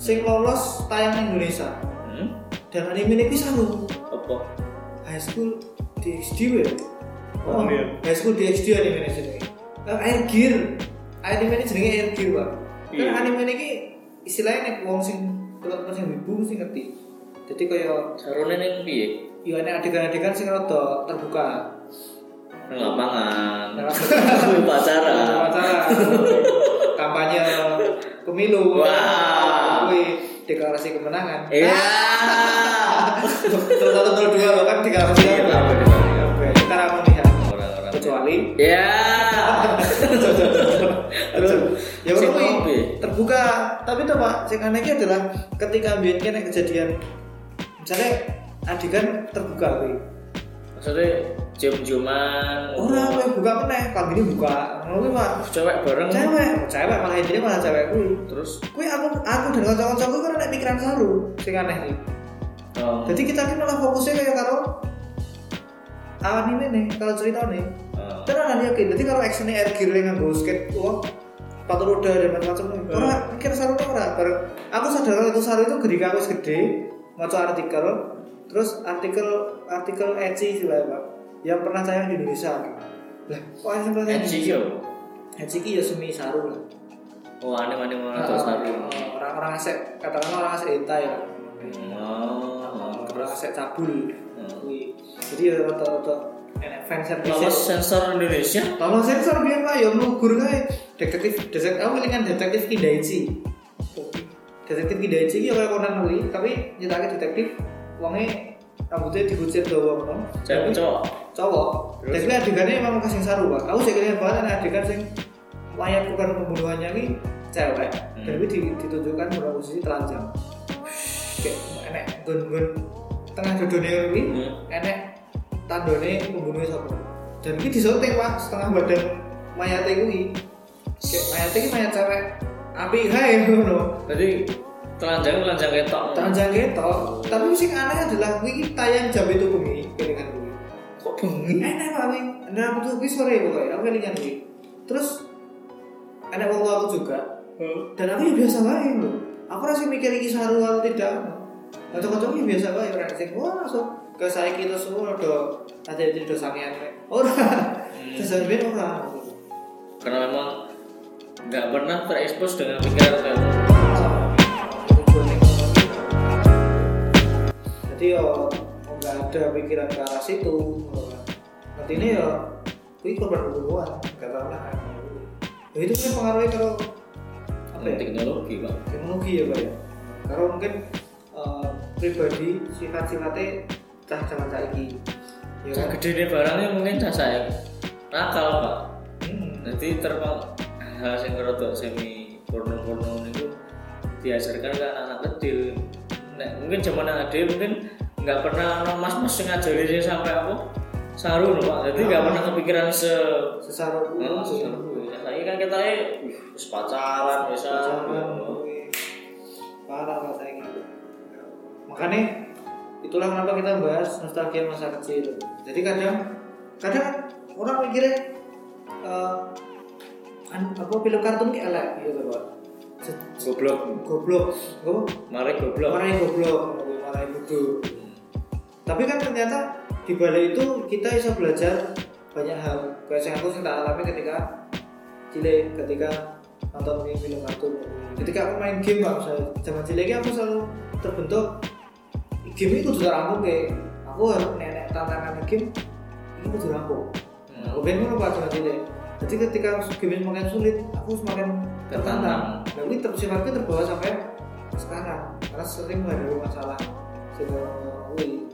A: sing lolos tayang di Indonesia
B: Hmm?
A: dan anime ini bisa lu
B: Apa?
A: high school DxD ya
B: Oh, iya.
A: high school DxD anime ini sini air gear anime ini jenenge air gear pak
B: Iya.
A: kan anime ini istilahnya nek wong sing teman-teman sing ibu sing ngerti jadi kaya
B: Sarunnya neng piye?
A: yo ada Iya, adegan-adegan sing rada terbuka
B: Neng lapangan.
A: Neng
B: Pacaran. (laughs)
A: Acara. kampanye pemilu
B: Wah.
A: Wih, deklarasi kemenangan Ah.
B: Iya.
A: terus satu terus dua lo kan deklarasi
B: Iya,
A: apa?
B: apa, apa, apa.
A: Oke, kita ramu nih ya
B: Orang-orang.
A: kecuali
B: Ya.
A: ya
B: Sing
A: walaupun
B: kopi.
A: terbuka tapi tuh pak yang anehnya adalah ketika biar kena kejadian misalnya adegan terbuka wih
B: Maksudnya cium-ciuman.
A: orang wih buka mana kalau ini buka ngono pak
B: Cewek bareng.
A: cewek cewek malah ini malah cewek wih
B: Terus
A: Kui aku aku dan kancok-kancokku kan ada pikiran saru, sing aneh iki.
B: um,
A: Jadi kita ini malah fokusnya kayak karo anime nih, kalau cerita nih.
B: uh,
A: Kan ada yakin. Jadi kalau actionnya air gear yang nganggo skate, wah sepatu roda dan macam-macam nih.
B: Hmm.
A: Ora mikir saru nih ora. Bareng aku sadar kalau itu saru itu gerika aku gede, maca artikel, terus artikel artikel ecchi sih lah pak, yang pernah tayang di Indonesia. Lah, kok artikel tayang di
B: NGO.
A: Indonesia? Ecchi ki ya semi saru lah.
B: Oh, aneh aneh mau
A: Ah,
B: nonton satu.
A: orang-orang asek katakanlah orang asek hentai ya
B: Hmm, Oh,
A: orang asek cabul
B: Hmm.
A: Kui. jadi ya rata-rata enek fan
B: Lolos
A: service
B: sensor Indonesia.
A: tolong sensor biar pak ya melugur kae detektif detektif aku kelingan detektif Kidaichi detektif Kidaichi ya kayak Conan kuwi tapi nyetake detektif wonge rambutnya dikucir doang no
B: Cewek cowok.
A: cowok
B: Terus?
A: tapi adegannya memang kasing saru pak aku sih kalian banget ada adegan sing layar bukan pembunuhannya ini cewek
B: Hmm.
A: tapi di- ditunjukkan dalam posisi telanjang kayak enek gun-gun tengah dodone ini
B: Hmm.
A: enek tandone pembunuhnya sapa dan ini disunting pak setengah badan mayat ini kayak mayat ini mayat cewek api hai ngono
B: Jadi telanjang telanjang ketok.
A: telanjang ketok tapi sing aneh adalah ini tayang jam itu bengi kelingan kuwi
B: Kok
A: bengi enak pak wih nah aku tuh wih sore pokoknya aku kelingan wih terus ada waktu aku juga
B: Hmm.
A: dan aku ya biasa wae lho aku rasa mikir iki saru atau tidak kocok-kocok ya biasa wae ora sing wah langsung ke saya kita semua do ada di do sangean wae ora sesampe ora
B: karena memang nggak pernah terekspos dengan pikiran kamu
A: jadi yo nggak ada pikiran ke arah situ nanti ini yo kuwi korban hubungan kata lah ya itu kan pengaruhnya kalau apa ya
B: teknologi pak
A: teknologi ya pak ya karena mungkin eh, pribadi sifat-sifatnya cah zaman saiki ya kan
B: gede deh barangnya mungkin tak saya nakal pak
A: Hmm.
B: nanti terpang hal yang kerotok semi porno-porno itu diajarkan ke anak-anak kecil nah, mungkin zaman anak kecil mungkin nggak pernah no mas mas ngajari dia sampai apa saru no pak jadi nggak pernah kepikiran se
A: sesama pun
B: Nah,
A: sesama
B: sesaru. Saya kan kita eh pacaran bisa
A: Jangan, weh. parah lah saya gitu makanya itulah kenapa kita bahas nostalgia masa kecil jadi kadang kadang orang mikirnya eh, an- apa film kartun kayak elek gitu pak Se-
B: goblok
A: goblok goblok
B: mari goblok
A: marahin goblok marahin bodoh tapi kan ternyata di balik itu kita bisa belajar banyak hal kayak yang aku sing tak alami ketika cilik ketika nonton film film kartun ketika aku main game pak misalnya zaman ciliknya aku selalu terbentuk game itu sudah rampung kayak aku harus nenek tantangan game ini kudu rampung
B: Hmm.
A: aku pengen ngono pak zaman cilik jadi ketika game semakin sulit aku semakin tertantang dan ini ter- sifatku terbawa sampai sekarang karena sering menghadapi masalah sehingga wih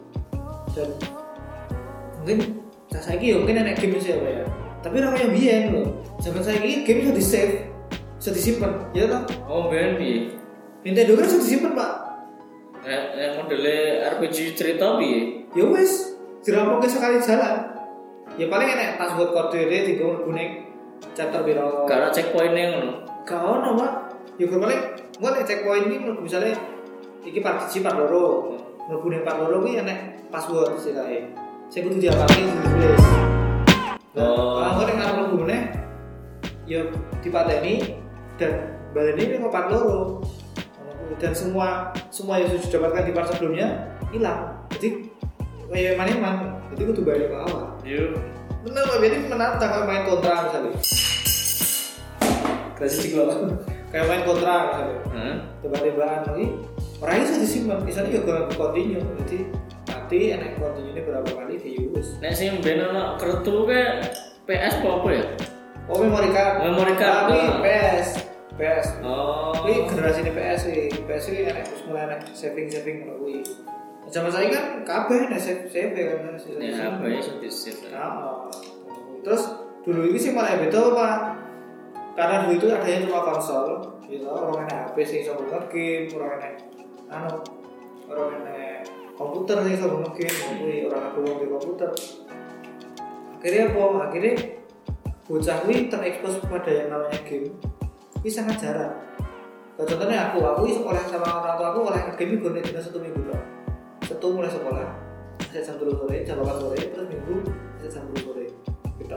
A: dan mungkin saya saiki ya mungkin enak game sih apa ya tapi orang yang biyen loh zaman saiki game bisa di save bisa disimpan ya toh
B: oh ben piye
A: Nintendo kan bisa disimpan pak
B: Nek nek modele RPG cerita piye
A: ya wes dirampung ke sekali jalan ya paling enak password kode ini tinggal gunek chapter biro
B: karena checkpointnya ngono
A: gak ono pak ya gue paling gue nih checkpoint ini mlebu misalnya iki part siji part loro mlebu ning part loro kuwi enek password istilahnya saya kudu diapalke ditulis
B: Oh.
A: nah, kalau gue ngarep mlebu meneh ya dipateni dan baleni ini kok part loro Ngono kuwi. dan semua semua yang sudah didapatkan di part sebelumnya hilang jadi kayak mana-mana jadi kudu balik ke awal
B: yuk
A: Bener Pak Benny menantang kayak main kontra misalnya. Kasih sih gua. Kayak main kontra misalnya.
B: Hah?
A: Tebak-tebakan lagi. Orangnya sudah disimpan, misalnya ya gua continue. Jadi nanti enak continue ini berapa kali diurus.
B: nek sing ben ana kertu ke PS apa apa ya
A: Oh memory card.
B: Memory card.
A: Tapi PS, PS.
B: oh
A: Tapi generasi ini PS sih, PS sih enak terus mulai enak saving saving melalui. Zaman saya kan kabeh enak save save kan sisa
B: ya apa ya sedih
A: Nah, terus dulu itu sih malah beda pak karena dulu itu adanya cuma konsol gitu orang enak HP sih bisa game orang enak anu orang enak komputer sih bisa game tapi orang aku di komputer akhirnya apa akhirnya bocah ini terekspos pada yang namanya game ini sangat jarang Nah, contohnya aku aku ini sekolah sama orang tua aku oleh game gue nih satu minggu doang satu mulai sekolah saya jam 3 sore jam 8 sore terus minggu saya jam 10 sore gitu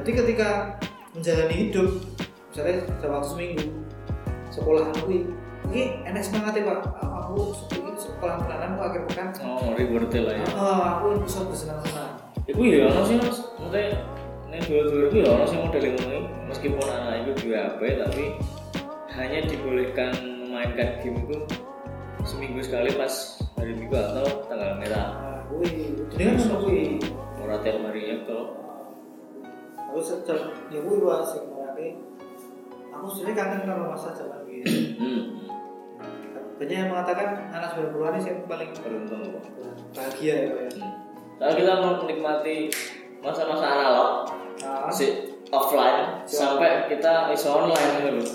A: jadi ketika menjalani hidup misalnya jam waktu seminggu sekolah aku ini ini enak semangat ya pak aku aku sekolah sekolah pelanan aku akhir pekan
B: oh reward lah ya
A: oh, aku bisa bersenang-senang
B: Iku ya ono sih mas, maksudnya ini dua-dua itu ya ono sih model yang ngomongin meskipun anak itu dua HP tapi hanya dibolehkan memainkan game itu seminggu sekali pas hari minggu atau tanggal merah
A: nah, wih dengan sama wih
B: ora tiap hari ya kalau
A: aku sedang ya wih wah sih mulai aku sendiri kangen kalau masa zaman ini
B: hmm.
A: banyak yang mengatakan anak 90-an ini siapa paling
B: beruntung kok
A: bahagia ya pak ya
B: hmm. kalau kita menikmati masa-masa analog
A: Nah,
B: si offline sampai kita iso online gitu loh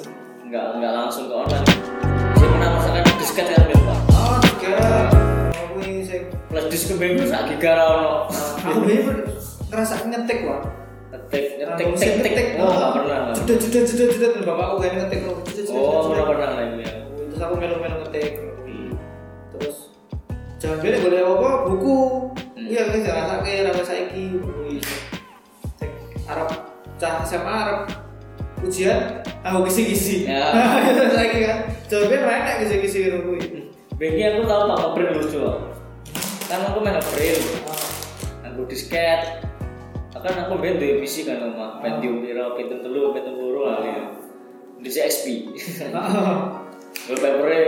B: nggak nggak langsung ke online saya pernah merasakan disket kan Pak
A: Oh, tiga. Aku ini sing.
B: plus disk kembang itu sak giga ra ono
A: Aku ini ngerasa ngetik wah.
B: ngetik ngetik tik tik tik oh nggak pernah
A: Jedut jedut jedut jedut dan bapakku kayak ngetik loh. Jedut, jedut,
B: oh
A: jedut.
B: pernah pernah lah ini ya
A: Terus aku melu melu ngetik. Terus jangan bilang boleh apa buku.
B: Hmm.
A: iya wis ngrasake ra saiki kuwi cek Arab cah SMA Arab ujian aku kisi-kisi (laughs)
B: Ya.
A: ya saiki kan jawabe renek kisi-kisi ngono kuwi
B: Bagi aku tahu pak ngeprint lucu loh. Kan aku main ngeprint, aku disket. Bahkan aku main di PC kan sama Pentium Piro, Pentium Telu, Pentium Loro lah ya. Di XP. (laughs)
A: Heeh.
B: Hmm. Wallpapernya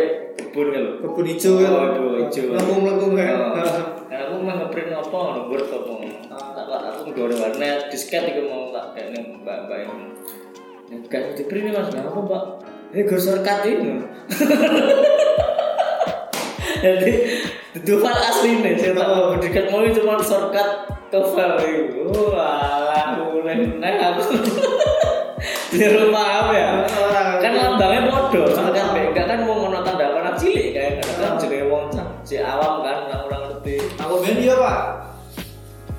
B: kebun kan loh.
A: (laughs) kebun hijau ya
B: Waduh, hijau.
A: melengkung kan (laughs)
B: Oh. Karena aku main ngeprint apa, ngebuat apa. Tak tak aku ngedorong warnet, disket itu mau tak kayak nih mbak mbak ini. Nih, Gak di print nih mas, Nah, apa mbak? Ini gosor cut ini. (laughs) Jadi itu file asli nih, saya tahu dekat mau itu cuma shortcut ke file itu. Wah, mulai naik aku. (laughs) Di rumah apa ya? Kan lambangnya bodoh, shortcut BK kan mau ngono tanda warna cilik kan, kan jadi wong cah, si awam kan, nggak kurang ngerti.
A: aku bilang iya pak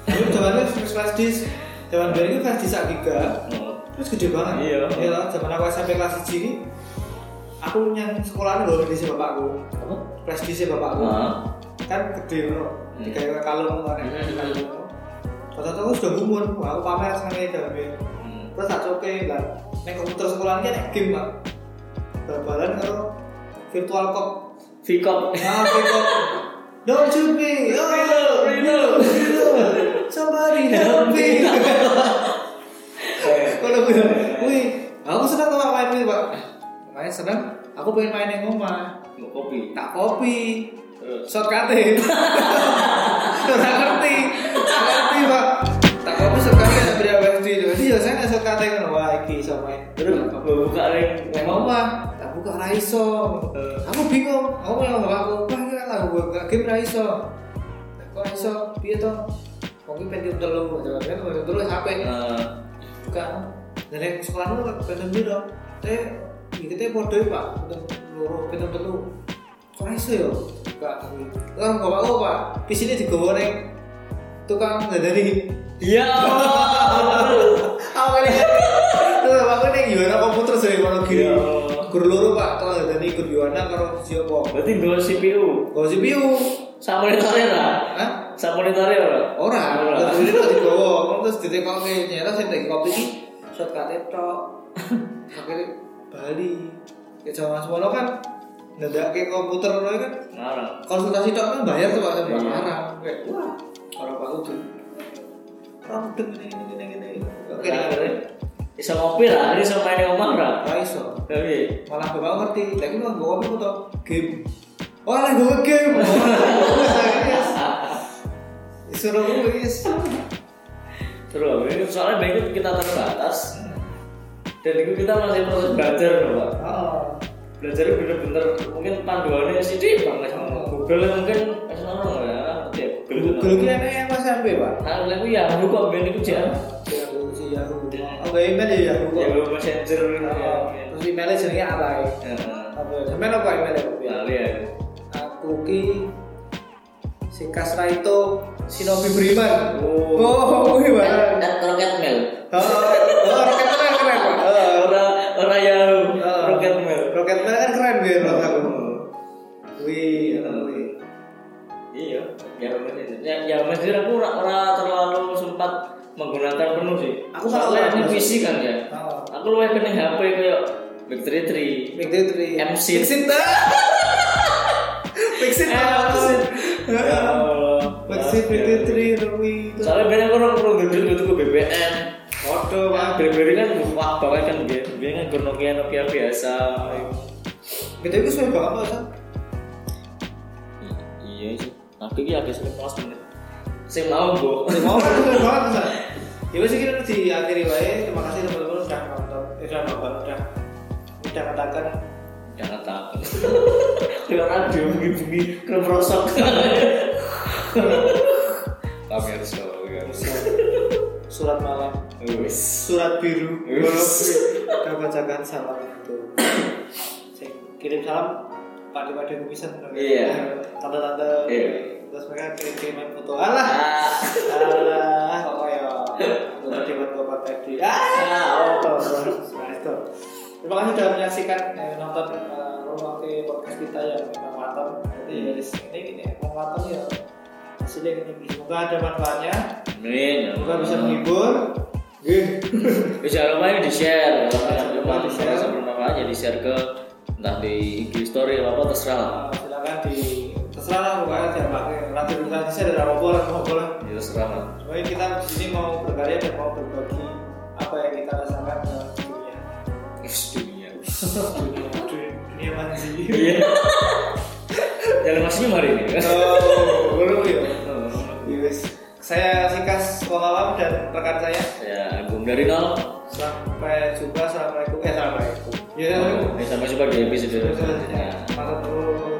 A: aku jamannya first class disk jaman biar itu flash disk sak giga terus gede banget
B: Iya.
A: iya lah jaman aku SMP kelas 1 ini aku yang sekolahan gak di bapakku
B: Apa?
A: flash disk bapakku
B: Nah,
A: kan gede loh
B: Hmm.
A: tiga kali kalung kan
B: Hmm.
A: Terus aku sudah gumun, aku pamer senengnya jaman
B: hmm.
A: terus tak coke lah neng komputer sekolahan kan nek game pak bal-balan karo virtual cop
B: Vikop. (laughs)
A: ah virtual cop don't shoot me oh
B: Rino, Rino.
A: Rino. somebody help me kalau gue wih aku senang tuh Pak, main ini pak Eh, main senang aku pengen main yang rumah
B: Mau kopi.
A: tak kopi
B: Terus.
A: shortcut (laughs) Kurang ngerti Nggak ngerti pak tak kopi shortcut ada berapa SD jadi ya saya nggak shortcut kan wah iki sama main
B: Terus buka ring.
A: Neng apa? Tak buka ra iso. Eh, Aku bingung. Aku yang bapak aku, wah ini lah gue gak game ra iso. Kok ra iso? Piye to? Kok iki pengen telu, jawabnya pengen telu HP.
B: Eh,
A: Buka. Dan yang sekolah lu pengen biru. Teh, iki teh podo ya, Pak. Pengen loro, pengen telu. Kok ra iso yo? Buka. Kan bapak aku, Pak. Pisine digowo ning tukang dadani.
B: Ya Allah.
A: Aku kali. Terus aku ning Yohana komputer sering kono
B: Ya
A: gini.
B: Allah.
A: Guru loro Pak, kalau ada nih guru Yohana karo siapa?
B: Berarti dua CPU.
A: Kalau si Piu,
B: Sama monitornya lah.
A: Hah?
B: Sama monitornya lah.
A: Orang,
B: Ora.
A: terus ini kok dibawa, Ngono terus ditekoke nyata sing tak kopi iki shortcut tok. Akhirnya Bali. Ya jaman semono kan ndadake komputer ngono kan
B: Ngarang.
A: konsultasi tok kan bayar tuh Pak Sen Pak
B: Iya.
A: Arang. Kayak wah, ora Pak Udu. Ora mudeng ngene ngene ngene. Oke,
B: Nah, Akhirnya. Bisa ngopi lah. Ini sampai di omah lah.
A: ora iso.
B: Tapi.
A: malah bapak aku ngerti lagi mau bawa apa tuh game oh lah gue game (laughs) Wah, serius. disuruh gue guys
B: Terus. ini Soalnya begitu kita terbatas. Dan itu kita masih proses belajar loh pak.
A: oh
B: Belajar bener-bener mungkin panduannya sih banget. Google mungkin kasih orang ya. Ya, Google.
A: dulu kira enak yang mas sampai pak
B: Nah, lagu ya, aku kok band itu jangan.
A: Yahoo si Yahoo oh gak email ya Yahoo
B: Ya,
A: kok
B: gue messenger. ya.
A: Oh, terus emailnya jenenge apa ya
B: Nah,
A: apa sampai apa emailnya Pak?
B: Nah, lihat.
A: aku ki si Kasra itu Shinobi Beriman
B: Oh.
A: oh wih pak
B: At rocket mail.
A: oh oh, roket keren keren pak Oh.
B: Orang orang yang
A: Oh.
B: rocket ya, mail.
A: Rocket Man kan keren biar menurut aku. Wih, enak, wih.
B: Iya, ya bener. Ya, ya masjid aku ora ora terlalu sempat menggunakan penuh sih.
A: Aku malah
B: soalnya
A: ora
B: di
A: masuk.
B: PC kan ya.
A: Oh.
B: Aku luwe kena HP kayak Big Three Three.
A: Big Day Three.
B: MC.
A: Fixit dah. Fixit
B: Eh,
A: dah.
B: Fixit. Ya
A: Heeh.
B: Allah.
A: Fixit Big Day Three, Romi.
B: Soalnya banyak orang perlu gede gitu ke BBM.
A: Waduh, Pak.
B: BlackBerry kan wah banget kan dia, dia kan ke Nokia Nokia biasa.
A: Big Day itu suwe banget Pak, San.
B: Iya sih. Aku iki agak sering pas menit. Sing mau bu.
A: Suwe banget, suwe banget, San. Ya wes kita di akhir wae. Terima kasih teman-teman sudah nonton. Eh, sudah nonton, sudah sudah katakan.
B: Jangan (laughs) takut. Dengan radio bunyi-bunyi kemerosok. Kami harus tahu ya.
A: eh, Surat malam,
B: Wis.
A: surat biru.
B: Wis.
A: Kita bacakan salam itu. Sing kirim salam Pak Dewa Dewi Wisan.
B: Iya.
A: Tante-tante.
B: Iya.
A: Terus mereka kirim-kiriman foto. Alah.
B: Ah.
A: Alah, kok kaya Udah dewan bapak tadi. Ah, oh, toh, toh. Nah, itu. Terima kasih sudah menyaksikan eh, nonton eh,
B: Iya.
A: rumah ke podcast kita yang memang mantap. Jadi ini ini memang mantap ya. Masih hasilnya kayak gini. semoga ada manfaatnya
B: Amin.
A: semoga bisa menghibur Nggih.
B: Iya. Bisa lupa ini di share.
A: Jangan lupa
B: Lupa di
A: di-share.
B: share. aja di share ke entah di IG story atau apa terserah. lah.
A: Nah, silakan di terserah lah pokoknya tiap pakai nanti bisa bisa dari apa lah mau boleh
B: Ya, terserah. lah.
A: pokoknya kita di sini mau berkarya dan mau berbagi apa yang kita rasakan ke dunia
B: Is dunia.
A: dunia dunia- dunia manji
B: Iya. Jalan masihnya hari ini. kan?
A: oh belum ya
B: Oh.
A: Yes. Saya Sikas Walalam dan rekan saya.
B: Saya Ya, Agung dari nol.
A: Sampai
B: Iya,
A: jumpa. Assalamualaikum. Eh, Assalamualaikum. Ya, Assalamualaikum.
B: Sampai jumpa di episode
A: Terus,
B: selanjutnya.
A: Matur nuwun.